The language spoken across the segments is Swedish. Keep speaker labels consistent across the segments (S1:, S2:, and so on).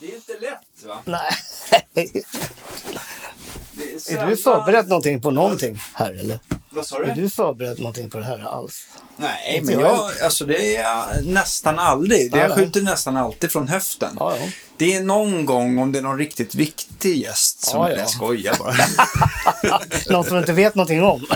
S1: Det är ju inte lätt va?
S2: Nej.
S1: Det
S2: Är
S1: sällan-
S2: du förberett någonting på någonting här eller?
S1: Vad sa
S2: Är
S1: du?
S2: du förberett någonting på det här alls?
S1: Nej,
S2: Inte
S1: men
S2: jag.
S1: jag, alltså det är jag nästan aldrig. Det-
S2: Ja,
S1: Jag
S2: nej.
S1: skjuter nästan alltid från höften.
S2: Ja, ja.
S1: Det är någon gång om det är någon riktigt viktig gäst som
S2: Ja,
S1: jag
S2: ja.
S1: skojar bara.
S2: Någon som du inte vet någonting om?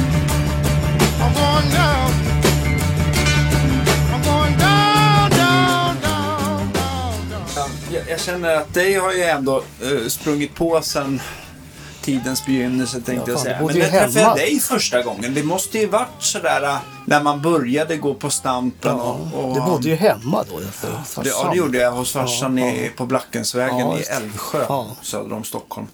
S3: I'm going down. I'm going down, down, down, down, down.
S1: jag, jag känner att dig har ju ändå eh, sprungit på sen tidens begynnelse tänkte
S2: Ja,
S1: jag
S2: fan,
S1: säga.
S2: du bodde
S1: Men när
S2: ju hemma.
S1: träffade jag dig första gången? Det måste ju varit sådär eh, när man började gå på Stampen och... och
S2: Du bodde ju hemma då. Efter
S1: Det, ja, det gjorde jag hos farsan
S2: Ja,
S1: i, på Blackensvägen
S2: Ja,
S1: i
S2: just det.
S1: Älvsjö
S2: Ja.
S1: söder om Stockholm.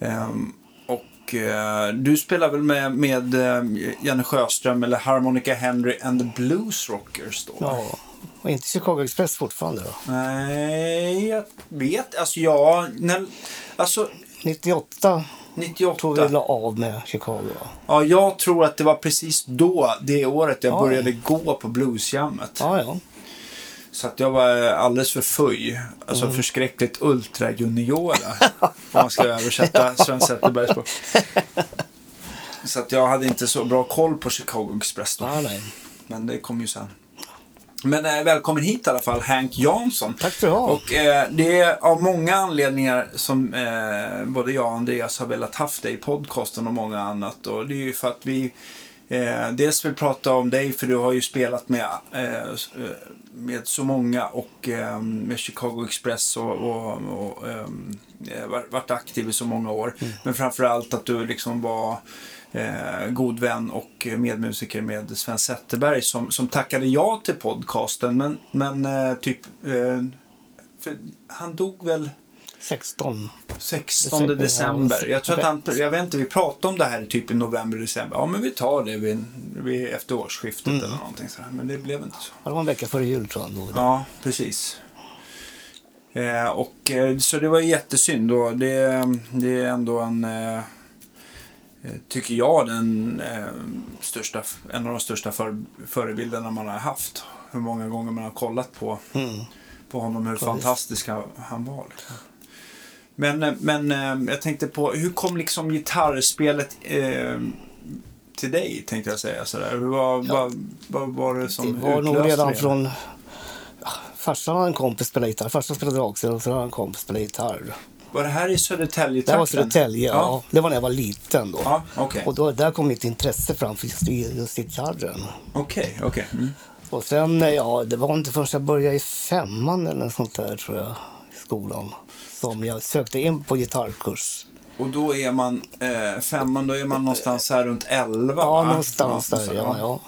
S1: Ehm, och eh, du spelar väl med, med eh, Janne Sjöström eller Harmonica Henry and the Blues Rockers då?
S2: Ja. Och inte Chicago Express fortfarande då?
S1: Nej, jag vet. Alltså jag... När, alltså
S2: 98 tog vi
S1: 98.
S2: la av med Chicago. va?
S1: Ja, jag tror att det var precis då, det året, jag
S2: Ja.
S1: började gå på bluesjammet.
S2: Ja, ja.
S1: Så att jag var eh, alldeles för fuj. Alltså
S2: Mm.
S1: förskräckligt ultrajuniora. om man ska översätta Sven Zetterbergs bok. Så att jag hade inte så bra koll på Chicago Express då.
S2: Ah, Nej, nej.
S1: Men det kom ju sen. Men eh, välkommen hit i alla fall, Hank Jansson.
S2: Tack ska du ha.
S1: Och eh, det är av många anledningar som eh, både jag och Andreas har velat haft dig i podcasten och många annat. Och det är ju för att vi eh, dels vill prata om dig, för du har ju spelat med, eh, s- eh, med så många och eh, med Chicago Express och, och, och ehm, eh, var- varit aktiv i så många år. Men framför allt att du liksom var eh, god vän och medmusiker med Sven Zetterberg som, som tackade ja till podcasten. Men, men eh, typ, eh, för han dog väl
S2: 16.
S1: 16
S2: December,
S1: december.
S2: ja.
S1: Jag tror att han, jag vet inte, vi pratade om det här typ i november, december. Ja, men vi tar det vid, vid efter årsskiftet
S2: Mm.
S1: eller någonting sådär. Men det blev inte så.
S2: Ja, Det var en vecka före jul tror jag. han dog.
S1: Ja, precis. Eh, och, eh, så det var jättesynd. Och det, det är ändå en, eh, eh, tycker jag, den eh, största, en av de största för, förebilderna man har haft. Hur många gånger man har kollat på,
S2: Mm.
S1: på honom, hur fantastisk han- han var. Liksom. Men, eh, men eh, jag tänkte på, hur kom liksom gitarrspelet eh, till dig, tänkte jag säga. Sådär. Hur var, vad, vad var det som
S2: det var nog
S1: utlöste
S2: redan
S1: det?
S2: från... ja, Farsan hade en kompis som spelade gitarr. Farsan spelade dragspel och så hade han en kompis som spelade gitarr.
S1: Var det här i Södertälje
S2: Det här var Södertälje. Ja.
S1: Ja,
S2: Det var när jag var liten då.
S1: ja okej.
S2: Och då, där kom mitt intresse fram för just, just gitarren.
S1: Okej, okej. Mm.
S2: Och sen, eh, ja, det var inte förrän jag började i femman eller något sånt där tror jag, i skolan, som jag sökte in på gitarrkurs.
S1: Och då är man eh, femman, då är man någonstans här runt elva
S2: Ja,
S1: va?
S2: någonstans där. Ja, ja.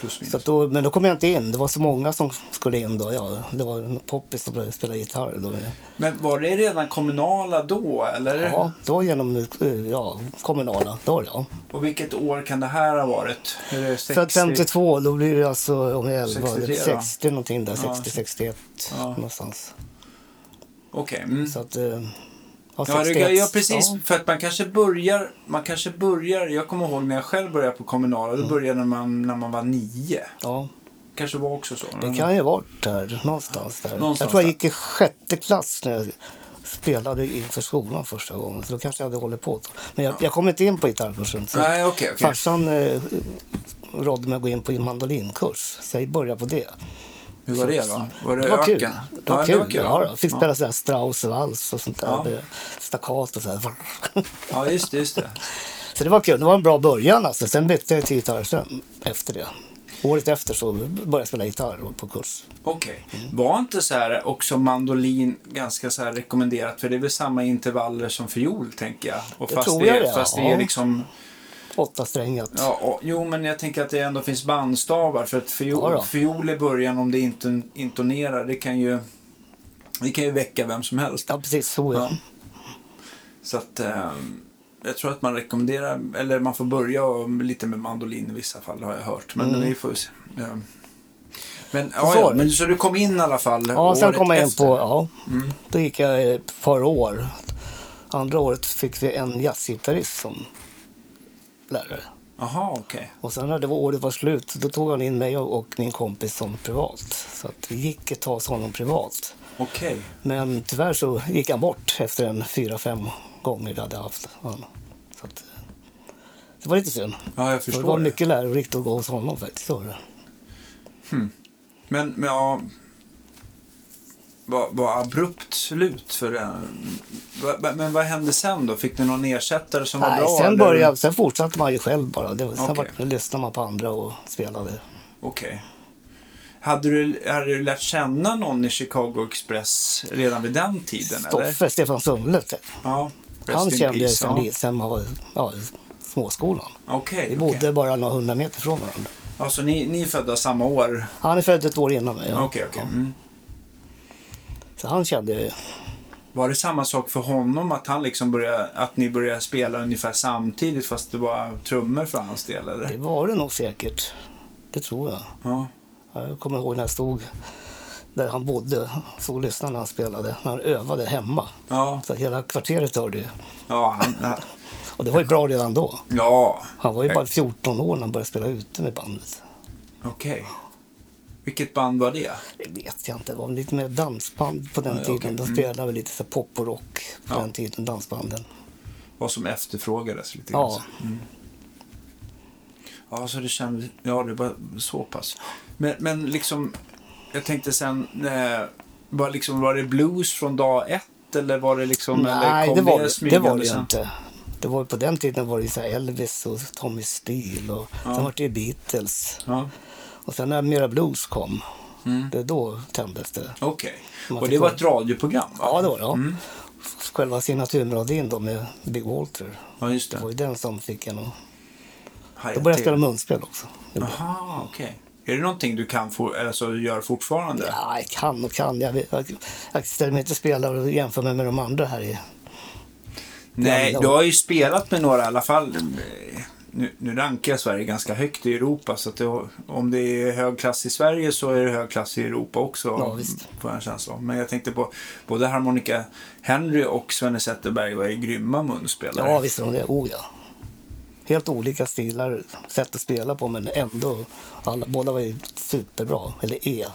S1: Plus minus.
S2: Så att då, men då kom jag inte in. Det var så många som skulle in då. Ja, det var en poppis som började spela gitarr då.
S1: Men var det redan kommunala då, eller?
S2: Ja, då genom eh, ja, kommunala. Då, ja.
S1: Och vilket år kan det här ha varit? Är det 60?
S2: För att 52, då blir det alltså om jag är 11,
S1: 63,
S2: 60 någonting där.
S1: Ja.
S2: 60, 61
S1: Ja.
S2: någonstans.
S1: Okej. Mm.
S2: Så att... eh,
S1: Ja, det,
S2: 61,
S1: ja, precis.
S2: ja.
S1: För att man kanske börjar, man kanske börjar, jag kommer ihåg när jag själv började på kommunala,
S2: Mm.
S1: då började man när man var nio.
S2: ja.
S1: Kanske var också så. Mm.
S2: Det kan ju ha varit där, någonstans där.
S1: Någonstans
S2: jag tror jag
S1: där.
S2: gick i sjätte klass när jag spelade inför skolan första gången. Så då kanske jag hade hållit på. då. Men jag, jag kom inte in på gitarrkursen. Så
S1: Nej, okej, okej.
S2: Farsan eh, rådde mig att gå in på en mandolinkurs. Så jag började på det.
S1: Hur var det då? Var det,
S2: Det var kul.
S1: öken?
S2: Det var
S1: Ja,
S2: kul.
S1: det var kul.
S2: Ja, då. Fick spela så här Strauss och vals och sånt där.
S1: Ja.
S2: med Staccato och så här.
S1: Ja, just det, just det.
S2: Så det var kul. Det var en bra början alltså. Sen bytte jag till gitarr sen, efter det. Året efter så började jag spela gitarr på kurs.
S1: Okej.
S2: Mm.
S1: Var inte så här också mandolin ganska så här rekommenderat? För det är väl samma intervaller som fiol, tänker jag. Och
S2: Det
S1: fast
S2: tror
S1: det,
S2: jag
S1: är-
S2: det,
S1: fast det
S2: ja.
S1: är liksom...
S2: Åtta strängat.
S1: Ja, och, jo, men jag tänker att det ändå finns bandstavar. För att
S2: Ja
S1: fiol,
S2: då.
S1: fiol i början, om det inte intonerar, det kan ju... Det kan ju väcka vem som helst.
S2: Ja, precis. Så ja.
S1: Så att... ehm, jag tror att man rekommenderar, eller man får börja och- lite med mandolin i vissa fall har jag hört. Men vi får se. Ja. Men, ja,
S2: Mm. Så var
S1: ja,
S2: det.
S1: men, så du kom in i alla fall?
S2: Ja, sen
S1: året
S2: kom jag in
S1: efter. Mm.
S2: på, ja, då gick jag ett par år. Andra året fick vi en jazzgitarrist som lärare.
S1: Jaha, okej.
S2: Och sen när det var året var slut, då tog han in mig och, och min kompis som privat. Så att vi gick ett tag som honom privat.
S1: Okej.
S2: Men tyvärr så gick han bort efter en fyra, fem gånger vi hade haft honom. Så att, eh, det var lite synd.
S1: Ja, jag
S2: För det
S1: förstår
S2: var
S1: det.
S2: mycket lärorikt att gå hos honom faktiskt. så var det.
S1: Men, men ja... Vad vad abrupt slut för det. Va- va- Men vad hände sen då? Fick ni någon ersättare som var
S2: Nej,
S1: bra?
S2: sen,
S1: eller?
S2: började, sen fortsatte man ju själv bara. Det, sen
S1: Okej.
S2: var, lyssnade man på andra och spelade.
S1: Okej. Hade du, hade du lärt känna någon i Chicago Express redan vid den tiden? Eller?
S2: Stoffe, Stefan Sundle. typ.
S1: Ja. Rest
S2: Han
S1: in
S2: kände jag
S1: peace, ja.
S2: sen, sen man var ja, i småskolan.
S1: Okej,
S2: Vi
S1: okej.
S2: bodde bara några hundra meter från varandra.
S1: Ja, så ni, ni är födda samma år?
S2: Han är född ett år innan mig. ja.
S1: Okej, okej. Mm.
S2: Så han kände ju-
S1: Var det samma sak för honom att, han liksom började, att ni började spela ungefär samtidigt fast det var trummor för hans del?
S2: det
S1: Eller?
S2: var det nog säkert. Det tror jag.
S1: Ja.
S2: Jag kommer ihåg när jag stod där han bodde, stod och lyssnade när han spelade, när han övade hemma.
S1: Ja,
S2: Så att hela kvarteret hörde ju.
S1: ja, han,
S2: Och det var ju bra redan då.
S1: ja.
S2: Han var ju bara 14 år när han började spela ute med bandet.
S1: okej. Vilket band var det?
S2: Det vet jag inte, det var lite mer dansband på den
S1: Ja,
S2: tiden.
S1: okej. Mm.
S2: De spelade väl lite så här pop och rock på
S1: Ja.
S2: den tiden, dansbanden.
S1: Vad som efterfrågades lite grann.
S2: Ja,
S1: Ja, så det kändes... Ja, det var så pass. Men, men liksom, jag tänkte sen... Eh, var, liksom, var det blues från dag ett? Eller var det liksom... eller
S2: nej
S1: kom
S2: det var det, det, var
S1: smygande
S2: det ju
S1: sen?
S2: inte. Det var ju på den tiden var det ju så här Elvis och Tommy Steele och sen var det ju Beatles.
S1: Ja,
S2: Och sen när Mera Blues kom, det då tändes det.
S1: okej.
S2: Man
S1: Och
S2: fick
S1: det var
S2: kolla.
S1: ett radioprogram, va?
S2: Ja, det var det. ja. Själva signaturmelodin då med Big Walter.
S1: Ja, just
S2: Det
S1: det.
S2: var ju den som fick en att...
S1: Haja
S2: Då började jag
S1: till.
S2: spela munspel också.
S1: Aha, okej. Är det någonting du kan for, alltså, gör fortfarande?
S2: Ja, jag kan och kan. Jag, vet- jag, jag ställer mig inte och spelar och jämför mig med de andra här. i-
S1: Nej,
S2: Ja,
S1: du
S2: då-
S1: har ju spelat med några i alla fall. Eh, Nu, nu rankar jag Sverige ganska högt i Europa, så att det, om det är hög klass i Sverige så är det hög klass i Europa också.
S2: Ja, visst.
S1: Får jag en känsla av. Men jag tänkte på både harmonika Henry och Svenne Zetterberg var ju grymma munspelare.
S2: Ja, visst är de det. Oh ja. Helt olika stilar, sätt att spela på, men ändå. Alla, båda var ju superbra. Eller är.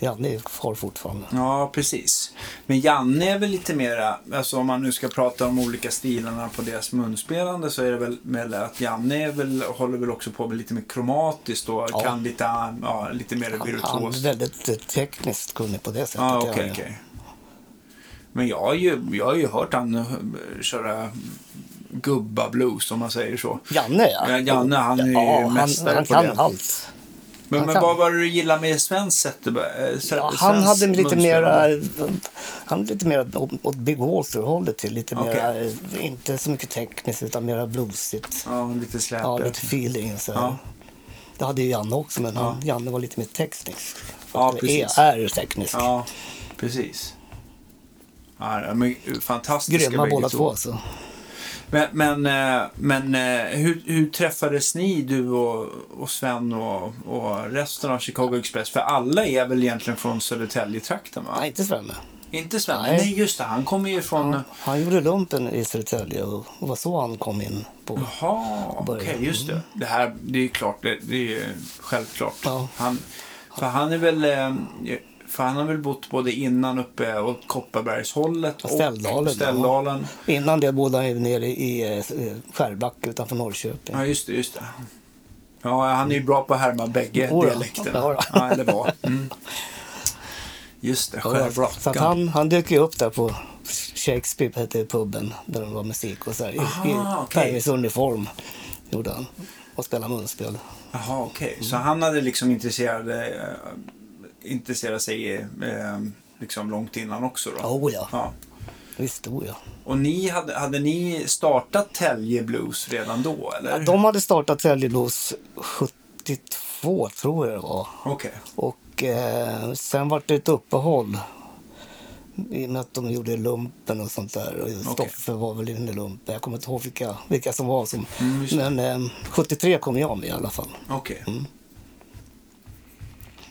S2: Janne är kvar fortfarande.
S1: Ja, precis. Men Janne är väl lite mera, alltså om man nu ska prata om olika stilarna på deras munspelande så är det väl med att Janne är väl, håller väl också på med lite mer kromatiskt och
S2: Ja.
S1: kan lite, ja, lite mer
S2: Han, han
S1: virtuost.
S2: är väldigt eh, tekniskt kunnig på det sättet.
S1: Ja,
S2: är
S1: okej,
S2: han
S1: Ah, okej.
S2: ju.
S1: Men jag har, ju, jag har ju hört han eh, köra gubbablues om man säger så.
S2: Janne, ja.
S1: Ja, Janne, han är ju
S2: ja, han,
S1: mästare
S2: han
S1: på
S2: kan
S1: det.
S2: allt.
S1: Men,
S2: han
S1: men
S2: kan.
S1: vad var det du gillade med Sven Zetterberg? eh, Sven-
S2: Ja, han
S1: Svens
S2: hade lite
S1: munspelande?
S2: mer han hade lite mer åt, åt Big Walter-hållet till. Lite
S1: Okej.
S2: mera, eh, inte så mycket tekniskt utan mera bluesigt.
S1: Ja, lite eh. släpet.
S2: Ja, lite feeling så. här.
S1: Ja.
S2: Det hade ju Janne också men han, Janne var lite mer teknisk.
S1: Ja,
S2: Eller
S1: precis.
S2: Är, är teknisk.
S1: Ja, precis. Ja, de är fantastiska
S2: Grymma
S1: bägge
S2: båda
S1: två.
S2: två alltså.
S1: Men, men, eh, men eh, hur, hur träffades ni, du och, och Sven och, och resten av Chicago Express? För alla är väl egentligen från Södertälje-trakten? Va?
S2: Nej, inte Svenne.
S1: Inte Sven? Nej.
S2: Nej.
S1: just det. Han kommer ju från...
S2: Han gjorde lumpen i Södertälje och, och var så han kom in på.
S1: Jaha, okej,
S2: Början.
S1: just det. Det här, det är ju klart. Det, det är ju självklart.
S2: Ja.
S1: Han, för han är väl... eh, För han har väl bott både innan uppe åt Kopparbergshållet och
S2: Ställdalen, ja.
S1: Ställdalen.
S2: Innan det bodde han ju nere i eh, Skärbacka utanför Norrköping.
S1: Ja, just det, just det. Ja, han är ju bra på att härma bägge
S2: Jodå.
S1: dialekterna.
S2: Ja, då.
S1: Ja, eller var. Mm. Just det,
S2: Ja, ja. Så att
S1: Skärbrackan.
S2: han, han dök ju upp där på Shakespeare, hette puben, där det var musik och så här, i,
S1: Aha,
S2: i
S1: okej.
S2: Permisuniform gjorde han. Och spelade munspel.
S1: Jaha, okej. Så
S2: Mm.
S1: han hade liksom intresserat, eh, intresserat sig eh, liksom långt innan också då?
S2: Oh, ja.
S1: ja.
S2: Visst, oh, ja.
S1: Och ni hade, hade ni startat Tälje Blues redan då, eller?
S2: Eh, De hade startat Tälje Blues 72, tror jag det var.
S1: Okej.
S2: Och eh, sen var det ett uppehåll. I och med att de gjorde lumpen och sånt där. Och Stoffe var väl inne i lumpen. Jag kommer inte ihåg vilka, vilka som var. Som,
S1: Mm, just det.
S2: men eh, 73 kom jag med i alla fall.
S1: Okej.
S2: Mm.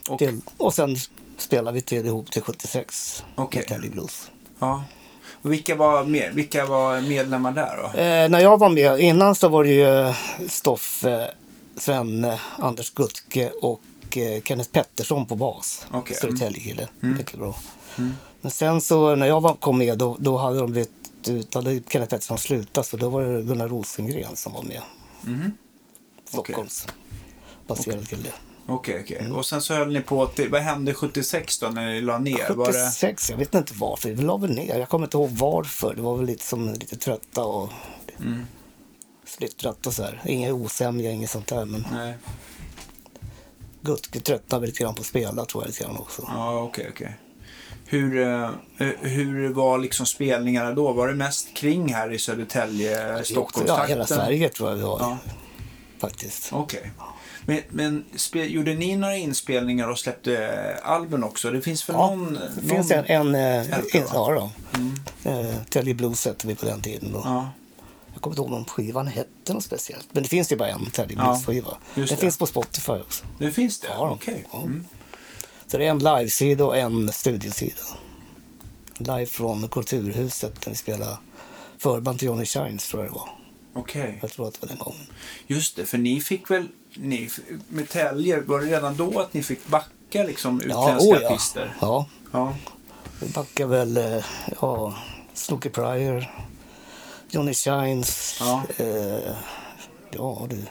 S1: Och-
S2: Till, och sen spelade vi till ihop till 76.
S1: Okej.
S2: Med Kelly Blues.
S1: Ja. Och Vilka var, med, vilka var medlemmar där då?
S2: Eh, när jag var med innan så var det ju Stoffe, Svenne, eh, Anders Gutke och eh, Kenneth Pettersson på bas.
S1: Okej. Mm.
S2: Södertäljekille. Mycket bra. Men sen så när jag var, kom med då, då hade de blivit ut, hade Kenneth Pettersson slutat så då var det Gunnar Rosengren som var med.
S1: Mm-hmm.
S2: Stockholms baserad kille.
S1: Okej, okej.
S2: Mm.
S1: Och sen så höll ni på att... Vad hände 76 då när ni la ner? Var det,
S2: 76, jag vet inte varför. Vi la väl ner. Jag kommer inte ihåg varför. Det var väl lite som lite trötta och
S1: Mm.
S2: splittrat och så här. Inga osämja, inget sånt där. Men
S1: nej.
S2: Gutke tröttnade väl lite grann på att spela tror jag lite grann också.
S1: Ja, okej, okej. Hur, eh, hur var liksom spelningarna då? Var det mest kring här i Södertälje,
S2: Ja,
S1: Stockholmstrakten?
S2: hela Sverige tror jag vi var
S1: Ja.
S2: faktiskt.
S1: Okej. Men, men spe, gjorde ni några inspelningar och släppte eh, album också? Det finns väl
S2: Ja,
S1: någon...
S2: det finns
S1: någon...
S2: en... en, eh,
S1: Älta,
S2: en
S1: va? Mm.
S2: ja, då. Eh, Telly Blues hette vi på den tiden. Då.
S1: Ja,
S2: Jag kommer inte ihåg om skivan hette något speciellt. Men det finns ju bara en Telly
S1: Ja,
S2: Blues-skiva.
S1: just
S2: den
S1: det.
S2: finns på Spotify också.
S1: det finns det?
S2: Ja,
S1: Okej.
S2: ja.
S1: Mm.
S2: Så det är en livesida och en studiosida. Live från Kulturhuset där vi spelade förband till Johnny Shines tror jag det var.
S1: Okej.
S2: Jag tror att det var den gången.
S1: Just det, för ni fick väl... Ni, f- med Tälje, var det redan då att ni fick backa liksom utländska
S2: oh ja.
S1: artister?
S2: ja.
S1: Ja.
S2: Vi backar väl eh, ja, Snooki Pryor, Johnny Shines,
S1: Ja.
S2: eh, ja du.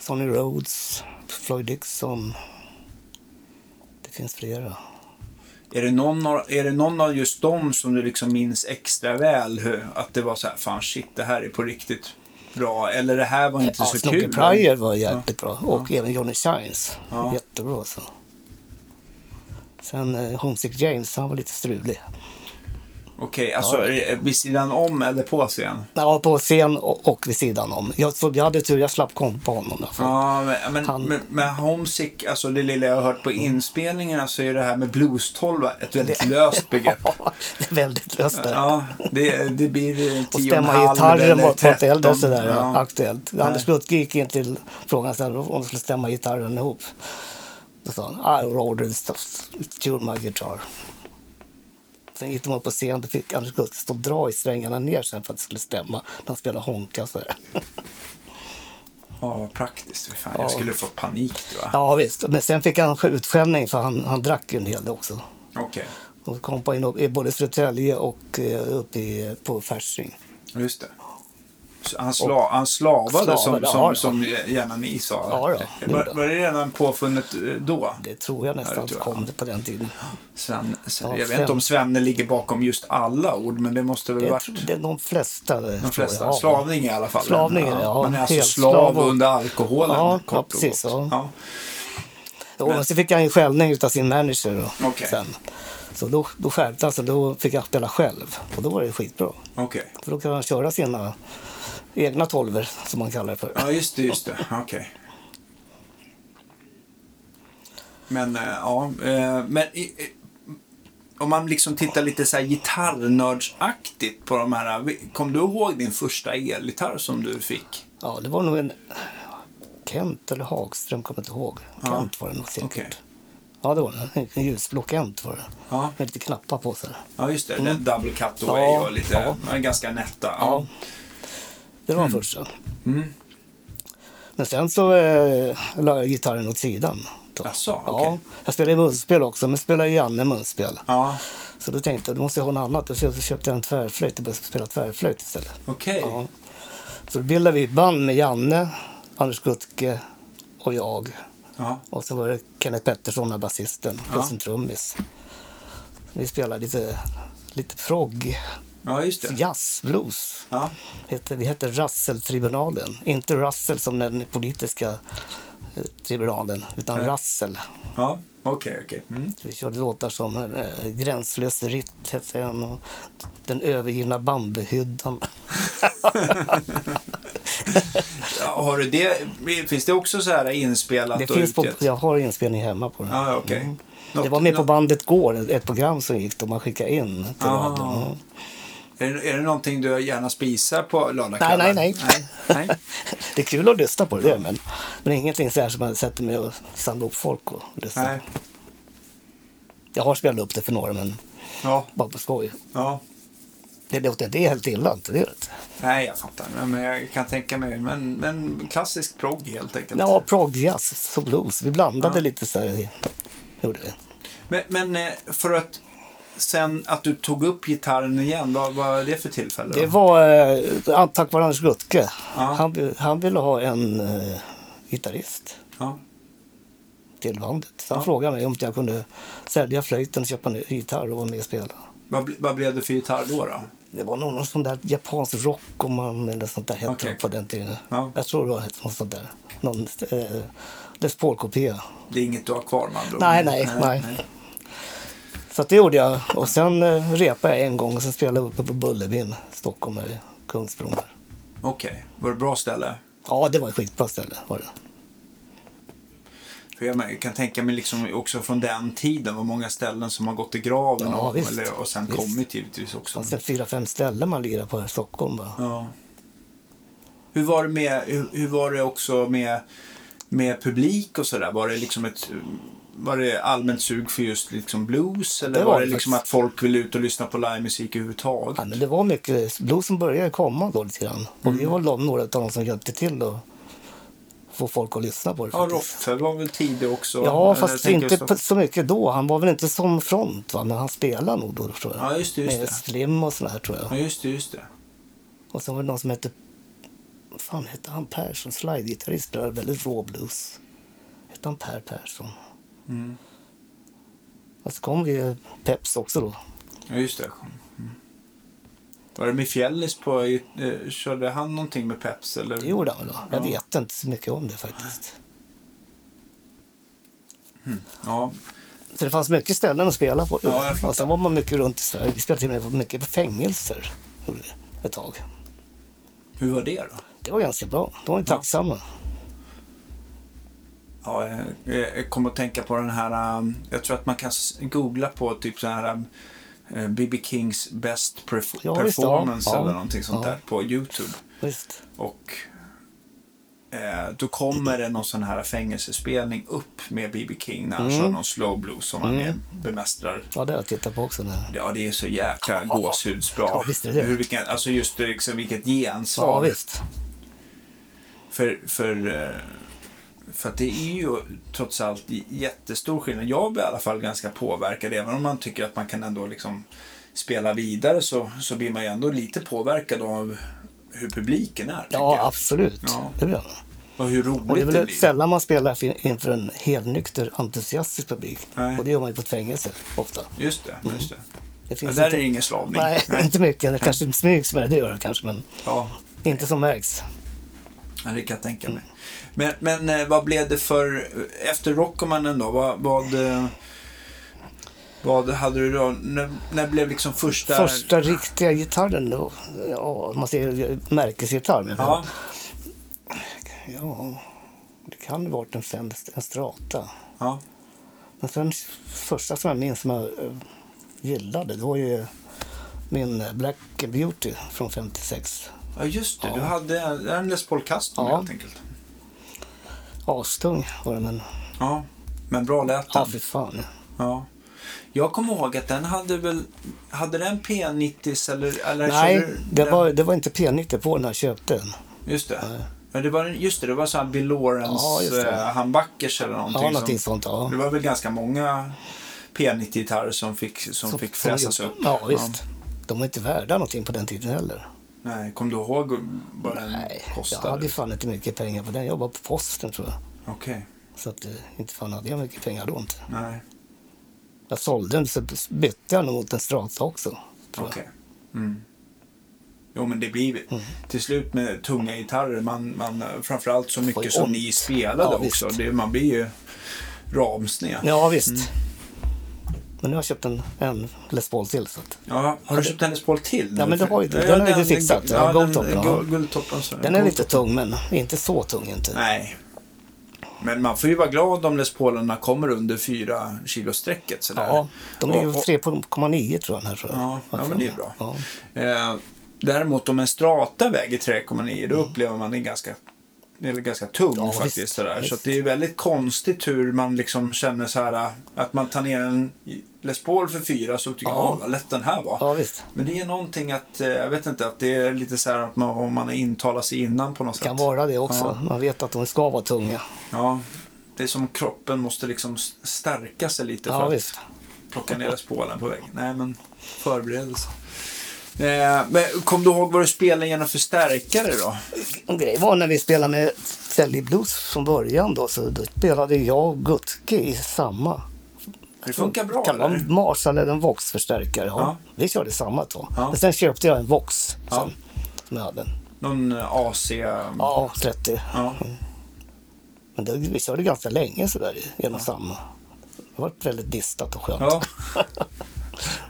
S2: Sonny Rhodes, Floyd Dixon. Det finns flera.
S1: Är det, någon av, är det någon av just dem som du liksom minns extra väl? Hur, att det var så här, fan shit, det här är på riktigt bra. Eller det här var inte
S2: Ja,
S1: så
S2: Snooki
S1: kul.
S2: Pryor var jäkligt bra och även Johnny Shines.
S1: Ja.
S2: Jättebra så. Sen eh, Homesick James, han var lite strulig.
S1: Okej, alltså är det vid sidan om eller på scen?
S2: Ja, på scen och, och vid sidan om. Jag, så, jag hade tur, jag slapp kompa honom. i alla fall.
S1: Ja, men, men,
S2: Han- Mm.
S1: men, men Homesick, alltså det lilla jag har hört på inspelningarna så är det här med blues-tolva ett väldigt löst begrepp.
S2: det är väldigt löst där.
S1: Ja, det, det blir eh,
S2: och
S1: tio och en
S2: stämma
S1: halv
S2: gitarren
S1: eller
S2: mot något äldre
S1: 13.
S2: sådär
S1: Ja.
S2: aktuellt. Anders Lutke gick in till frågan sen om de skulle stämma gitarren ihop. Då sa han "Ah, I ordered stuff, tune my guitar. Sen gick de upp på scen, då fick Anders Lutke stå och dra i strängarna ner sen för att det skulle stämma. När han spelade honka och sådär.
S1: Ja, vad praktiskt. Fy Fan,
S2: Ja.
S1: Jag skulle få panik tror jag.
S2: Ja visst, men sen fick han utskällning för han, han drack ju en hel del också.
S1: Okej,
S2: De kom på in upp, i både Södertälje och eh, uppe i, på Fasching.
S1: just det. Så Han, sla, han slavade,
S2: Slavade,
S1: som,
S2: ja,
S1: som,
S2: ja.
S1: som gärna ni sa.
S2: Ja, ja, det
S1: var,
S2: gjorde
S1: var det redan påfunnet eh, då?
S2: Det tror jag
S1: Ja,
S2: nästan
S1: det tror jag.
S2: kom det på den tiden.
S1: Sven, Sven,
S2: Ja,
S1: jag vet
S2: Sven.
S1: inte om Svenne ligger bakom just alla ord, men det måste väl
S2: Jag
S1: varit...
S2: tror det är de flesta. eh,
S1: De flesta. Slavning i alla fall.
S2: Slavning, ja,
S1: Man är alltså
S2: helt
S1: slav,
S2: slav och-
S1: under alkoholen.
S2: Ja,
S1: kort och
S2: precis,
S1: gott.
S2: ja.
S1: Ja.
S2: Ja, men så fick jag en skällning av sin manager. Då,
S1: Okej.
S2: sen. Så då, då skärpte han sig. Då fick jag spela själv. Och då var det skitbra.
S1: Okej.
S2: För då kan han köra sina egna tolver som man kallar det för.
S1: Ja, just det, just det. Okej. Men, eh, ja. eh, Men i- i- om man liksom tittar lite så här gitarrnördsaktigt på de här. vi- Kom du ihåg din första elgitarr som du fick?
S2: Ja, det var nog en Kent eller Hagström, kommer inte ihåg. Kent var det nog säkert.
S1: Okej.
S2: Ja, det var det. En- En ljusblå Kent var det.
S1: Ja.
S2: Med lite knappar på sig.
S1: Ja, just det. Den double cutaway
S2: Mm. Ja,
S1: och lite,
S2: ja.
S1: ja, ganska nätta.
S2: Ja. Det
S1: Mm.
S2: var den första. Men sen så eh, la jag gitarren åt sidan. då.
S1: Jaså,
S2: ja,
S1: okej.
S2: jag spelade i munspel också, men spelade Janne munspel.
S1: ja.
S2: Så då tänkte jag, då måste jag ha något annat. Och så så köpte jag en tvärflöjt och började spela tvärflöjt istället.
S1: Okej.
S2: Ja. Så då bildade vi ett band med Janne, Anders Gutke och jag.
S1: Ja.
S2: Och så var det Kenneth Pettersson, den basisten, plus
S1: Ja.
S2: en trummis. Vi spelade lite, lite frogg,
S1: ja, just det.
S2: jazz, blues.
S1: Ja.
S2: Hette, vi hette Russelltribunalen. Inte Russell som den politiska eh, tribunalen, utan Russell.
S1: Ja, okej, okej. Mm.
S2: Vi körde låtar som eh, Gränslös ritt hette en och Den övergivna bambuhyddan.
S1: Har du det, finns det också så här inspelat
S2: Det
S1: och
S2: finns på,
S1: utgett? Ah,
S2: jag har inspelning hemma på den.
S1: Ja, ja, okej.
S2: Mm.
S1: Något-
S2: Det var med på
S1: nå-
S2: bandet går, ett program som gick då man skickade in till
S1: Aha.
S2: radion. Mm.
S1: Är det, är det någonting du gärna spisar på
S2: Nej,
S1: lördagskvällar?
S2: nej, nej.
S1: nej. nej.
S2: Det är kul att lyssna på det, men, men ingenting så här som man sätter mig och samlar upp folk och lyssnar.
S1: nej.
S2: Jag har spelat upp det för några, men
S1: Ja,
S2: bara på skoj.
S1: ja.
S2: Det låter det är helt illa, inte det? gör det inte.
S1: Nej, jag fattar. Nej, Men jag kan tänka mig. Men, men klassisk progg helt enkelt.
S2: Ja, proggjazz och blues. Vi blandade
S1: Ja.
S2: lite så här. Gjorde vi.
S1: Men, men eh, för att sen att du tog upp gitarren igen, vad vad var det för tillfälle? då?
S2: Det var eh, tack vare Anders Gutke. Han, vill- han ville ha en eh, gitarrist
S1: Ja.
S2: till bandet. Så han
S1: Ja.
S2: frågade mig om jag kunde sälja flöjten, köpa en gitarr och vara med och spela.
S1: Vad, ble- vad blev det för gitarr då? då?
S2: Det var någon sån där japansk rockoman eller sånt där hette
S1: Okej.
S2: det på den tiden.
S1: Ja.
S2: Jag tror det var något sånt där. Någon eh, Les Paul-kopia.
S1: Det är inget du har kvar med andra ord.
S2: Nej, nej, nej. Så att det gjorde jag. Och sen eh, repade jag en gång och sen spelade jag uppe på Bullerbyn, Stockholm, eller Kungsbron. där.
S1: Okej, var det ett bra ställe?
S2: Ja, det var ett skitbra ställe. Var det.
S1: För jag kan tänka mig liksom också från den tiden, vad många ställen som har gått i graven
S2: Ja,
S1: och,
S2: visst.
S1: eller, och sen
S2: Visst.
S1: kommit givetvis
S2: Det
S1: också.
S2: fanns en fyra, fem ställen man lirade på här i Stockholm. Bara.
S1: Ja. Hur var det med, hur, hur var det också med, med publik och sådär? Var det liksom ett var det allmänt sug för just liksom blues eller
S2: Det
S1: var,
S2: var
S1: det
S2: det
S1: liksom att
S2: faktiskt.
S1: folk ville ut och lyssna på livemusik överhuvudtaget?
S2: Ja, men det var mycket blues som började komma då lite grann. Och
S1: Mm.
S2: vi var de- några av dem som hjälpte till att få folk att lyssna på det.
S1: Ja,
S2: faktiskt.
S1: Roffe var väl tidig också?
S2: ja
S1: Eller
S2: fast
S1: tänker
S2: inte
S1: jag
S2: på- så mycket då. Han var väl inte som front, va? men han spelade nog då tror jag.
S1: Ja, just det, just
S2: Med
S1: det.
S2: Slim och sådär tror jag.
S1: Ja, just det, just det.
S2: Och sen var det någon som hette... Vad fan hette han? Persson, slidegitarrist, spelade väldigt rå blues. Hette han Per Persson?
S1: Mm.
S2: Och så kom ju Peps också då.
S1: Ja, just det. Mm. Var det med Fjällis på, eh, körde han någonting med Peps eller?
S2: Det gjorde han väl då. Jag
S1: Ja.
S2: vet inte så mycket om det faktiskt.
S1: Ja,
S2: Så det fanns mycket ställen att spela på.
S1: Ja, jag fattar.
S2: och sen var man mycket runt i Sverige. Vi spelade till och med mycket på fängelser gjorde vi ett tag.
S1: hur var det då?
S2: Det var ganska bra. De var ju
S1: Ja.
S2: tacksamma.
S1: Ja, jag, jag kommer att tänka på den här, um, jag tror att man kan s- googla på typ så här um, B.B. Kings best perf-
S2: Ja, visst, ja.
S1: performance
S2: Ja.
S1: eller någonting sånt
S2: Ja.
S1: där på Youtube.
S2: Visst.
S1: Och eh, då kommer det någon sån här fängelsespelning upp med B.B. King när han kör
S2: Mm.
S1: någon slow blues som han eh, bemästrar.
S2: Ja, det har jag tittat på också. Nu.
S1: Ja, det är så jäkla gåshudsbra.
S2: Ja, visst är det.
S1: Hur, vilken, alltså just det, liksom, vilket gensvar.
S2: Ja, visst.
S1: För, för, eh, för att det är ju trots allt jättestor skillnad. Jag blir i alla fall ganska påverkad. Även om man tycker att man kan ändå liksom spela vidare så, så blir man ju ändå lite påverkad av hur publiken är. tänker
S2: Ja,
S1: jag.
S2: absolut.
S1: Ja.
S2: Det blir han.
S1: Och hur
S2: Och det
S1: roligt
S2: är
S1: det,
S2: väl
S1: blir.
S2: sällan man spelar för- inför en helnykter, entusiastisk publik.
S1: Nej.
S2: Och det gör man ju på ett fängelse ofta.
S1: Just det. Just det.
S2: Det
S1: Ja,
S2: finns
S1: där är
S2: inte...
S1: det ingen slavning.
S2: Mm. Nej, inte mycket. Det kanske smygs med det, det gör det kanske, men
S1: Ja,
S2: inte som märks.
S1: ja, det kan jag tänka
S2: Mm.
S1: mig. Men, men eh, vad blev det för, efter Rockomanen då, vad, vad, eh, vad hade du då, när, när blev liksom första...
S2: Första riktiga gitarren då, ja, man säger märkesgitarr. Men
S1: Ja,
S2: ja, det kan ha varit en, fem, en strata.
S1: ja.
S2: Men sen första som jag minns som jag eh, gillade, det var ju min Black Beauty från 56.
S1: Ja, just det. Du hade en Les Paul Custom
S2: Ja.
S1: helt enkelt.
S2: Astung var den, men
S1: Ja, men bra lät
S2: ja,
S1: den.
S2: fy fan.
S1: Ja. Jag kommer ihåg att den hade väl... Hade den P90 eller... eller
S2: Nej,
S1: körde du-
S2: det
S1: den-
S2: var, det var inte P90 på när jag köpte den.
S1: Just det. Men det var, just det, det var så här Bill Lawrence
S2: Ja, just det.
S1: eh, handbackers eller någonting.
S2: Ja, någonting sånt. Ja.
S1: Det var väl ganska många P90-gitarrer som fick, som fick fräsas upp.
S2: Ja, visst. De var inte värda någonting på den tiden heller.
S1: Nej, kom du ihåg vad den
S2: Nej, jag
S1: kostade?
S2: hade ju fan inte mycket pengar på den. Jag jobbade på posten tror jag.
S1: Okej,
S2: Så att, eh, inte fan hade jag mycket pengar då inte.
S1: nej.
S2: Jag sålde den så bytte jag nog mot en Strata också. Tror Mm.
S1: Okej. Mm. Jo, men det blir till slut med tunga gitarrer. Man, man, framförallt så mycket
S2: Oj,
S1: som
S2: ont.
S1: ni spelade
S2: Ja,
S1: också.
S2: visst.
S1: Det, man blir ju ramsned.
S2: jag. Ja, visst. Men nu har jag köpt en, en Les Paul till. Så att
S1: Ja, har du köpt Hennes Paul till?
S2: Ja, men det har ju- den har ju du fixat. Ja,
S1: Ja, den,
S2: Goldtoppen, ja.
S1: gu- guldtoppen. så-
S2: den är lite tung, men inte så tung inte.
S1: Nej. Men man får ju vara glad om Les Paulerna kommer under 4 kilo-strecket. sådär.
S2: Ja, de
S1: Och-
S2: ligger
S1: och-
S2: på 3,9 tror jag. den Här, tror jag.
S1: Ja, ja, men det är bra.
S2: Ja.
S1: Eh, däremot om en strata väger 3,9 då upplever man den ganska, eller ganska tung
S2: Mm. Ja,
S1: faktiskt.
S2: visst,
S1: sådär. Så
S2: visst.
S1: att det är väldigt konstigt hur man liksom känner så här eh, att man tar ner en Les Paul för 4 så tycker man
S2: Ja.
S1: "Åh, vad lätt den här var.
S2: ja, visst.
S1: Men det är någonting att, eh, jag vet inte, att det är lite så här att man, om man intalar sig innan på något
S2: Det kan
S1: sätt.
S2: vara det också.
S1: Ja.
S2: Man vet att de ska vara tunga.
S1: Ja, det är som kroppen måste liksom s- stärka sig lite
S2: Ja,
S1: för att
S2: visst.
S1: plocka ner spålen på väggen. Nej, men förberedelse. Eh, men kom du ihåg vad du spelade genom förstärkare då?
S2: En grej var när vi spelade med Sally Blues från början då, så då spelade jag och Gutke i samma.
S1: Det funkar bra
S2: Kan vara
S1: eller?
S2: en Mars eller en Vox-förstärkare. Ja.
S1: Ja.
S2: Vi körde samma då.
S1: Ja.
S2: Men sen köpte jag en Vox sen,
S1: Ja.
S2: som jag hade.
S1: Någon eh, AC? Ja.
S2: Ja, 30.
S1: ja.
S2: Men det, vi körde ganska länge sådär i- genom samma. Det var väldigt distat och skönt.
S1: ja.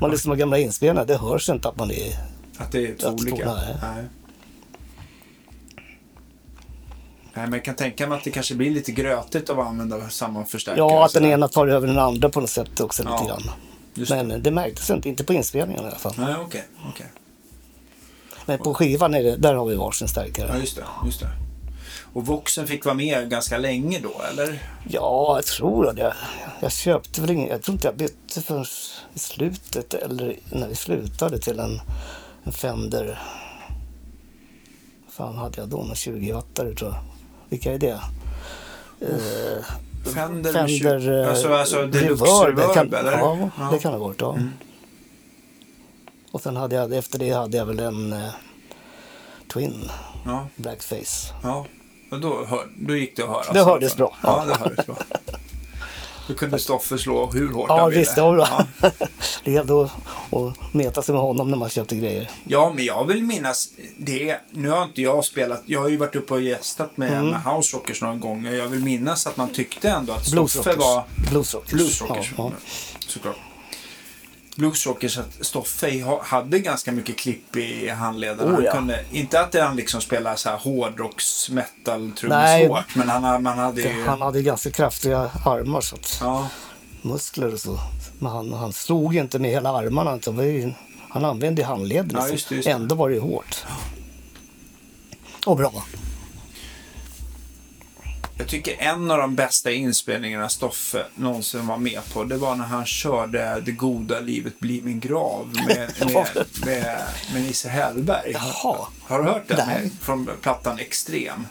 S2: Man lyssnar på gamla inspelningar, det hörs inte att man är...
S1: Att det är två
S2: Jag tror
S1: olika?
S2: det,
S1: Nej. Nej, men jag kan tänka mig att det kanske blir lite grötigt av att använda samma förstärkare.
S2: Ja, att den
S1: sådär.
S2: ena tar över den andra på något sätt också
S1: Ja,
S2: lite grann.
S1: just
S2: Men det. märktes inte, inte på inspelningen i alla fall.
S1: Nej, okej. okej.
S2: Men på skivan, är det, där har vi varsin stärkare.
S1: Ja, just det, just det. Och Voxen fick vara med ganska länge då, eller?
S2: Ja, jag tror det. Jag köpte väl ingen, jag tror inte jag bytte förrän i slutet eller när vi slutade till en, en Fender. Vad fan hade jag då? Någon 20 wattare tror jag. Vilka är det? Eh,
S1: Fender, med
S2: Fender...
S1: tjugo-
S2: eh,
S1: alltså, alltså deluxe
S2: reverb, det
S1: reverb,
S2: kan,
S1: eller? Mm.
S2: Ja, det kan det ha varit. Ja. Och sen hade jag, efter det hade jag väl en eh, Twin
S1: ja,
S2: Blackface.
S1: ja. Och då, hör, då gick det att höra.
S2: Det
S1: alltså.
S2: hördes bra.
S1: Ja, det hördes bra. Då kunde Stoffe slå hur hårt
S2: Ja,
S1: han ville.
S2: visst, det var bra. Det gällde att, att meta sig med honom när man köpte grejer.
S1: Ja, men jag vill minnas det. Nu har inte jag spelat. Jag har ju varit uppe och gästat med,
S2: Mm.
S1: med House Rockers några gånger. Jag vill minnas att man tyckte ändå att Stoffe
S2: Bluesrockers.
S1: var...
S2: Bluesrockers.
S1: Bluesrockers.
S2: Ja,
S1: Såklart. Bluesrockers, att Stoffe ha- hade ganska mycket klipp i handleden.
S2: Oh,
S1: han
S2: ja.
S1: kunde, inte att han liksom spelade så här hårdrocks metal trummor
S2: Nej.
S1: hårt, men han, man hade ju...
S2: ja. Han hade ganska kraftiga armar, så att,
S1: Ja,
S2: muskler och så. Men han, han slog inte med hela armarna. utan det var ju- han använde ju handleden.
S1: Ja,
S2: så
S1: just det, just det.
S2: Ändå var det ju hårt. Och bra.
S1: jag tycker en av de bästa inspelningarna Stoffe någonsin var med på, det var när han körde Det goda livet blir min grav med, med, med, med Nisse Hellberg.
S2: Jaha.
S1: Har du hört den?
S2: Nej.
S1: Från plattan Extrem.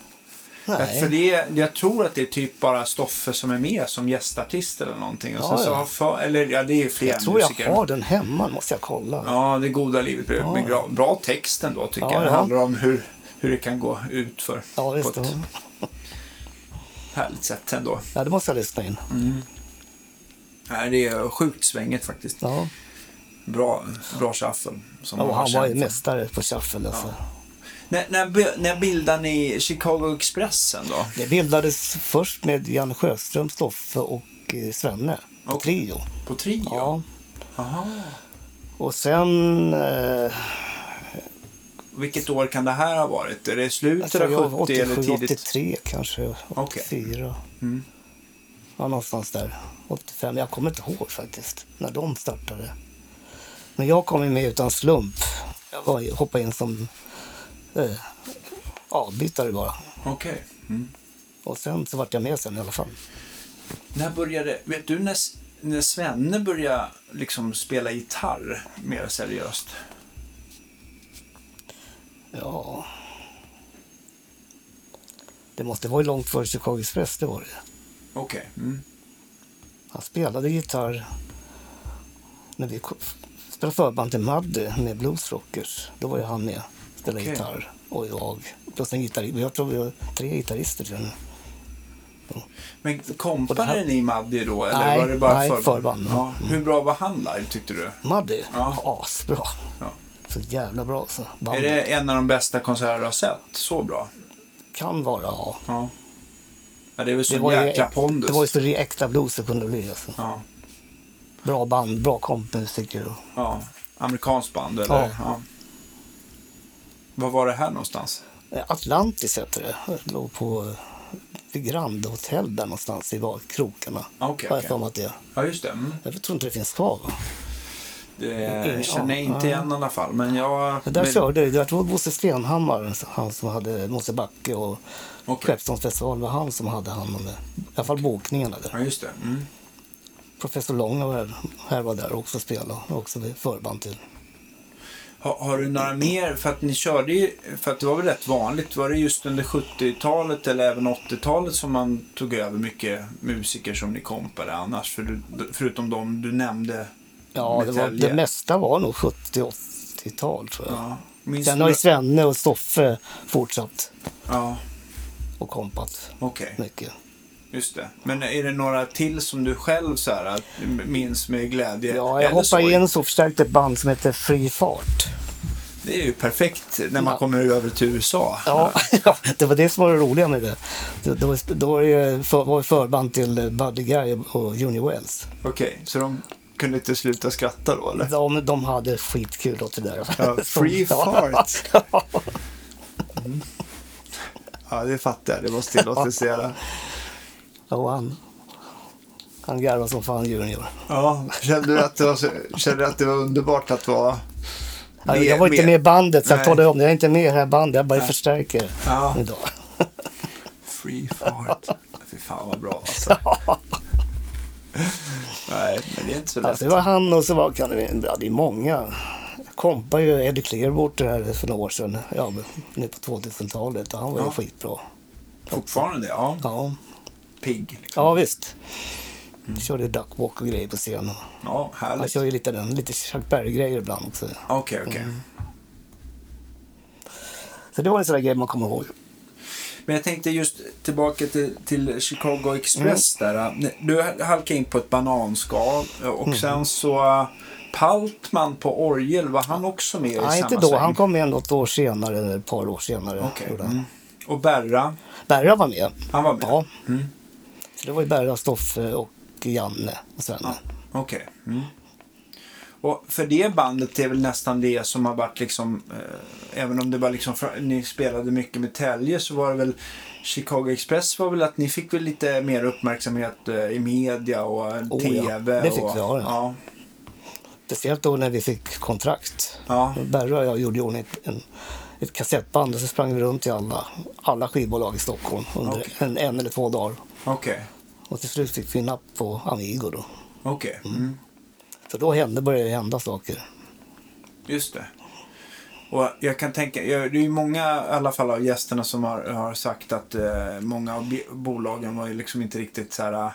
S1: För
S2: Nej.
S1: det är, jag tror att det är typ bara Stoffe som är med som gästartist eller någonting. Och sen
S2: Ja,
S1: så
S2: ja.
S1: har för, eller ja, det är fler
S2: Jag tror jag
S1: musiker.
S2: har den hemma. Måste jag kolla.
S1: Ja, det goda livet blir med grav. Bra text ändå tycker
S2: Ja,
S1: jag. Det
S2: ja.
S1: handlar om hur, hur det kan gå ut för
S2: Ja, visst.
S1: på ett härligt sätt ändå.
S2: Ja, det måste jag lyssna in.
S1: Nej, det är sjukt svänget faktiskt.
S2: Ja.
S1: Bra, bra shuffle. Som man
S2: Och
S1: har
S2: han var ju
S1: känt.
S2: mästare på shuffle. Alltså.
S1: När, när, när bildade ni Chicago Expressen då?
S2: Det bildades först med Janne Sjöström, Stoffe och eh, Svenne. På
S1: Och-
S2: trio.
S1: På Trio?
S2: Ja.
S1: Aha.
S2: Och sen... Eh,
S1: Vilket år kan det här ha varit? Är det
S2: jag
S1: slutet
S2: tror Alltså, jag
S1: av
S2: var
S1: 70 eller
S2: 87,
S1: tidigt? Mm.
S2: 83 kanske. 84. Ja, någonstans där. 85. Jag kommer inte ihåg faktiskt när de startade. Men jag kom ju med utan slump. Jag var, hoppade in som eh, avbytare bara.
S1: Okej. Mm.
S2: Och sen så vart jag med sen i alla fall.
S1: När började, vet du när, S- när Svenne började liksom spela gitarr mer seriöst?
S2: Ja. Det måste vara långt före Chicago Express, det var det.
S1: Okej. Mm.
S2: Han spelade gitarr när vi ko- spelade förband till Maddy med Blues Rockers. Då var ju han med och spelade
S1: Okej.
S2: gitarr. Och jag. Plus en gitarrist. Jag tror vi var tre gitarrister. Tror jag.
S1: Men kompade
S2: Och det här-
S1: ni Maddi då? Eller
S2: Nej,
S1: var det bara
S2: nej,
S1: förband?
S2: förband.
S1: Ja. Hur bra var han live tyckte du?
S2: Maddy,
S1: Ja.
S2: asbra.
S1: Ja.
S2: Så jävla bra. alltså. Så
S1: Är
S2: bandet
S1: det en av de bästa konserter du har sett? Så bra?
S2: kan vara, ja.
S1: Ja. ja det är väl så
S2: Det var, ju,
S1: jäkla pondus.
S2: det var ju så äkta blues det kunde bli. Alltså.
S1: Ja.
S2: Bra band, bra kompmusiker. och-
S1: Ja. Amerikanskt band eller?
S2: Ja.
S1: Ja. Vad var det här någonstans?
S2: Atlantis heter det. Det låg på eh, Grand Hotel där någonstans i var- krokarna.
S1: Ah, Okej,
S2: Har jag
S1: okej.
S2: för mig att det är.
S1: Ja, just det. Mm.
S2: Jag tror inte det finns kvar. va?
S1: Det
S2: Ingen
S1: känner jag
S2: aning.
S1: inte igen i alla fall. Men jag...
S2: Det där
S1: men,
S2: körde jag. Jag tror det var Bosse Stenhammar, han som hade Mosebacke och
S1: Okej.
S2: Skeppsholmsfestivalen var han som hade hand om det. I alla fall bokningen. Där.
S1: Ja, just det. Mm.
S2: Professor Lång var här, här var där också och spelade. och Också förband till.
S1: Har, har du några mer? För att ni körde ju, för att det var väl rätt vanligt. Var det just under 70-talet eller även 80-talet som man tog över mycket musiker som ni kompade annars? För du, förutom de du nämnde.
S2: Ja, det, var,
S1: Metallica.
S2: det mesta var nog 70-80-tal tror jag.
S1: Ja. Minns
S2: Sen
S1: du-
S2: har ju Svenne och Stoffe fortsatt
S1: Ja,
S2: och kompat
S1: okej.
S2: mycket.
S1: Just det. Men är det några till som du själv så här, att- minns med glädje?
S2: Ja, jag
S1: Eller
S2: hoppar
S1: sorg?
S2: in så förstärkte ett band som heter Fri Fart.
S1: Det är ju perfekt när man
S2: Ja.
S1: kommer över till USA.
S2: Ja, det var det som var det roliga med det. det, det var, då var det ju för, var det förband till eh, Buddy Guy och Junior Wells.
S1: Okej, så de kunde inte sluta skratta då eller?
S2: De, de hade skitkul åt det där.
S1: Ja, free
S2: Som-
S1: fart.
S2: Ja.
S1: Ja, det fattar jag. Det var stillåtelse.
S2: och han, han garvade som fan Junior.
S1: Ja, kände du att det var, så- kände du att det var underbart att vara
S2: Ja, jag var inte med i bandet så jag
S1: Nej.
S2: talar om det. Jag är inte med i det här bandet, jag bara förstärker
S1: Ja.
S2: idag.
S1: Free fart. Fy fan vad bra alltså. Nej, men det är inte så lätt.
S2: Alltså, det var han och så var kan det, ja, det är många. Jag kompade ju Eddie Clearwater här för några år sedan, ja, men nu på 2000-talet och han var ju
S1: Ja.
S2: skitbra.
S1: Fortfarande, ja.
S2: Ja,
S1: Pigg. Liksom.
S2: ja visst. Körde duckwalk och grejer på scenen.
S1: Ja,
S2: Han
S1: härligt.
S2: kör ju lite den, lite Chuck Berry-grejer ibland också.
S1: Okej, okej.
S2: Mm. Så det var en sån där grej man kommer ihåg.
S1: Men jag tänkte just tillbaka till, till Chicago Express
S2: Mm.
S1: där. Du halkade in på ett bananskal eh, och
S2: Mm.
S1: sen så eh, Paltman på orgel, var han också med i
S2: Nej,
S1: samma
S2: inte då.
S1: sväng?
S2: Han kom med något år senare, eller ett par år senare.
S1: Okej.
S2: gjorde han.
S1: Mm. Och Berra,
S2: Berra var med.
S1: han var med? Mm.
S2: Ja. Så det var ju Berra, Stoffe och Janne och Svenne.
S1: Okej. Mm. Och för det bandet är väl nästan det som har varit liksom, eh, även om det var liksom, fra- ni spelade mycket med Tälje så var det väl Chicago Express var väl att ni fick väl lite mer uppmärksamhet eh, i media och eh,
S2: Oh, ja.
S1: tv.
S2: Det fick
S1: och,
S2: vi, ja, ja.
S1: ja.
S2: Speciellt då när vi fick kontrakt.
S1: Ja.
S2: Berra och jag gjorde i ordning ett, en, ett kassettband och så sprang vi runt i alla, alla skivbolag i Stockholm under
S1: Okej.
S2: en, en eller två dagar.
S1: Okej.
S2: Och till slut fick vi napp på Amigo då.
S1: Okej. Mm.
S2: Så då hände, började det hända saker.
S1: Just det. Och jag kan tänka, jag- det är ju många i alla fall av gästerna som har, har sagt att eh, många av bi- bolagen var ju liksom inte riktigt så här, eh,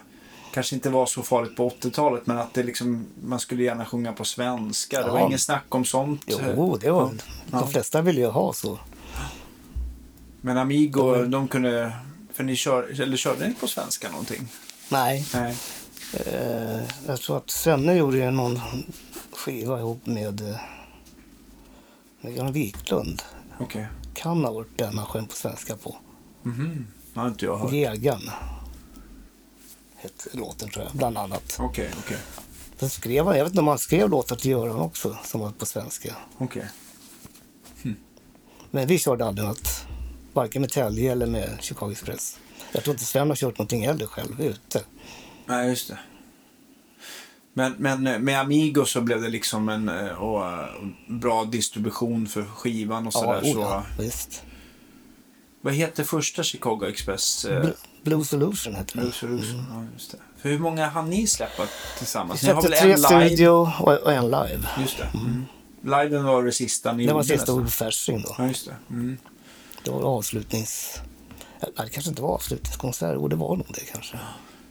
S1: kanske inte var så farligt på 80-talet men att det liksom, man skulle gärna sjunga på svenska. Det var
S2: Ja.
S1: ingen snack om sånt.
S2: Jo, det
S1: Ja.
S2: var, de flesta ville ju ha så.
S1: Men Amigo, de kunde, för ni kör, eller körde ni på svenska någonting?
S2: Nej,
S1: Nej.
S2: eh, jag tror att Svenne gjorde ju någon skiva ihop med, eh, med Jan Wiklund.
S1: Okej.
S2: Kan ha varit den han sjöng på svenska på.
S1: Mhm. Det har inte jag hört. Okej,
S2: Jägaren. Hette låten tror jag, bland annat.
S1: okej.
S2: Sen skrev han, jag vet inte om han skrev låtar till Göran också, som var på svenska.
S1: Okej.
S2: Men vi körde aldrig något, varken med Telge eller med Chicago Express. Jag tror inte Sven har kört någonting heller själv ute.
S1: Nej, just det. Men, men eh, med Amigo så blev det liksom en eh, och, eh, bra distribution för skivan och sådär.
S2: oh
S1: så,
S2: visst.
S1: vad heter första Chicago Express? Eh,
S2: Bl- Blue Solution heter den.
S1: Blues och Rus? Ja, just det. För hur många hann ni släppa
S2: Vi
S1: tillsammans? Ni har
S2: släppte
S1: väl
S2: tre
S1: en live?
S2: studio och, och en live.
S1: Just det. Mm. Liven var det sista ni
S2: Det var
S1: gjorde
S2: sista
S1: nästan.
S2: Ove Fasching då.
S1: Ja, just det. Mm.
S2: Det var avslutnings... Nej, det kanske inte var avslutningskonsert. Jo, det var nog det kanske.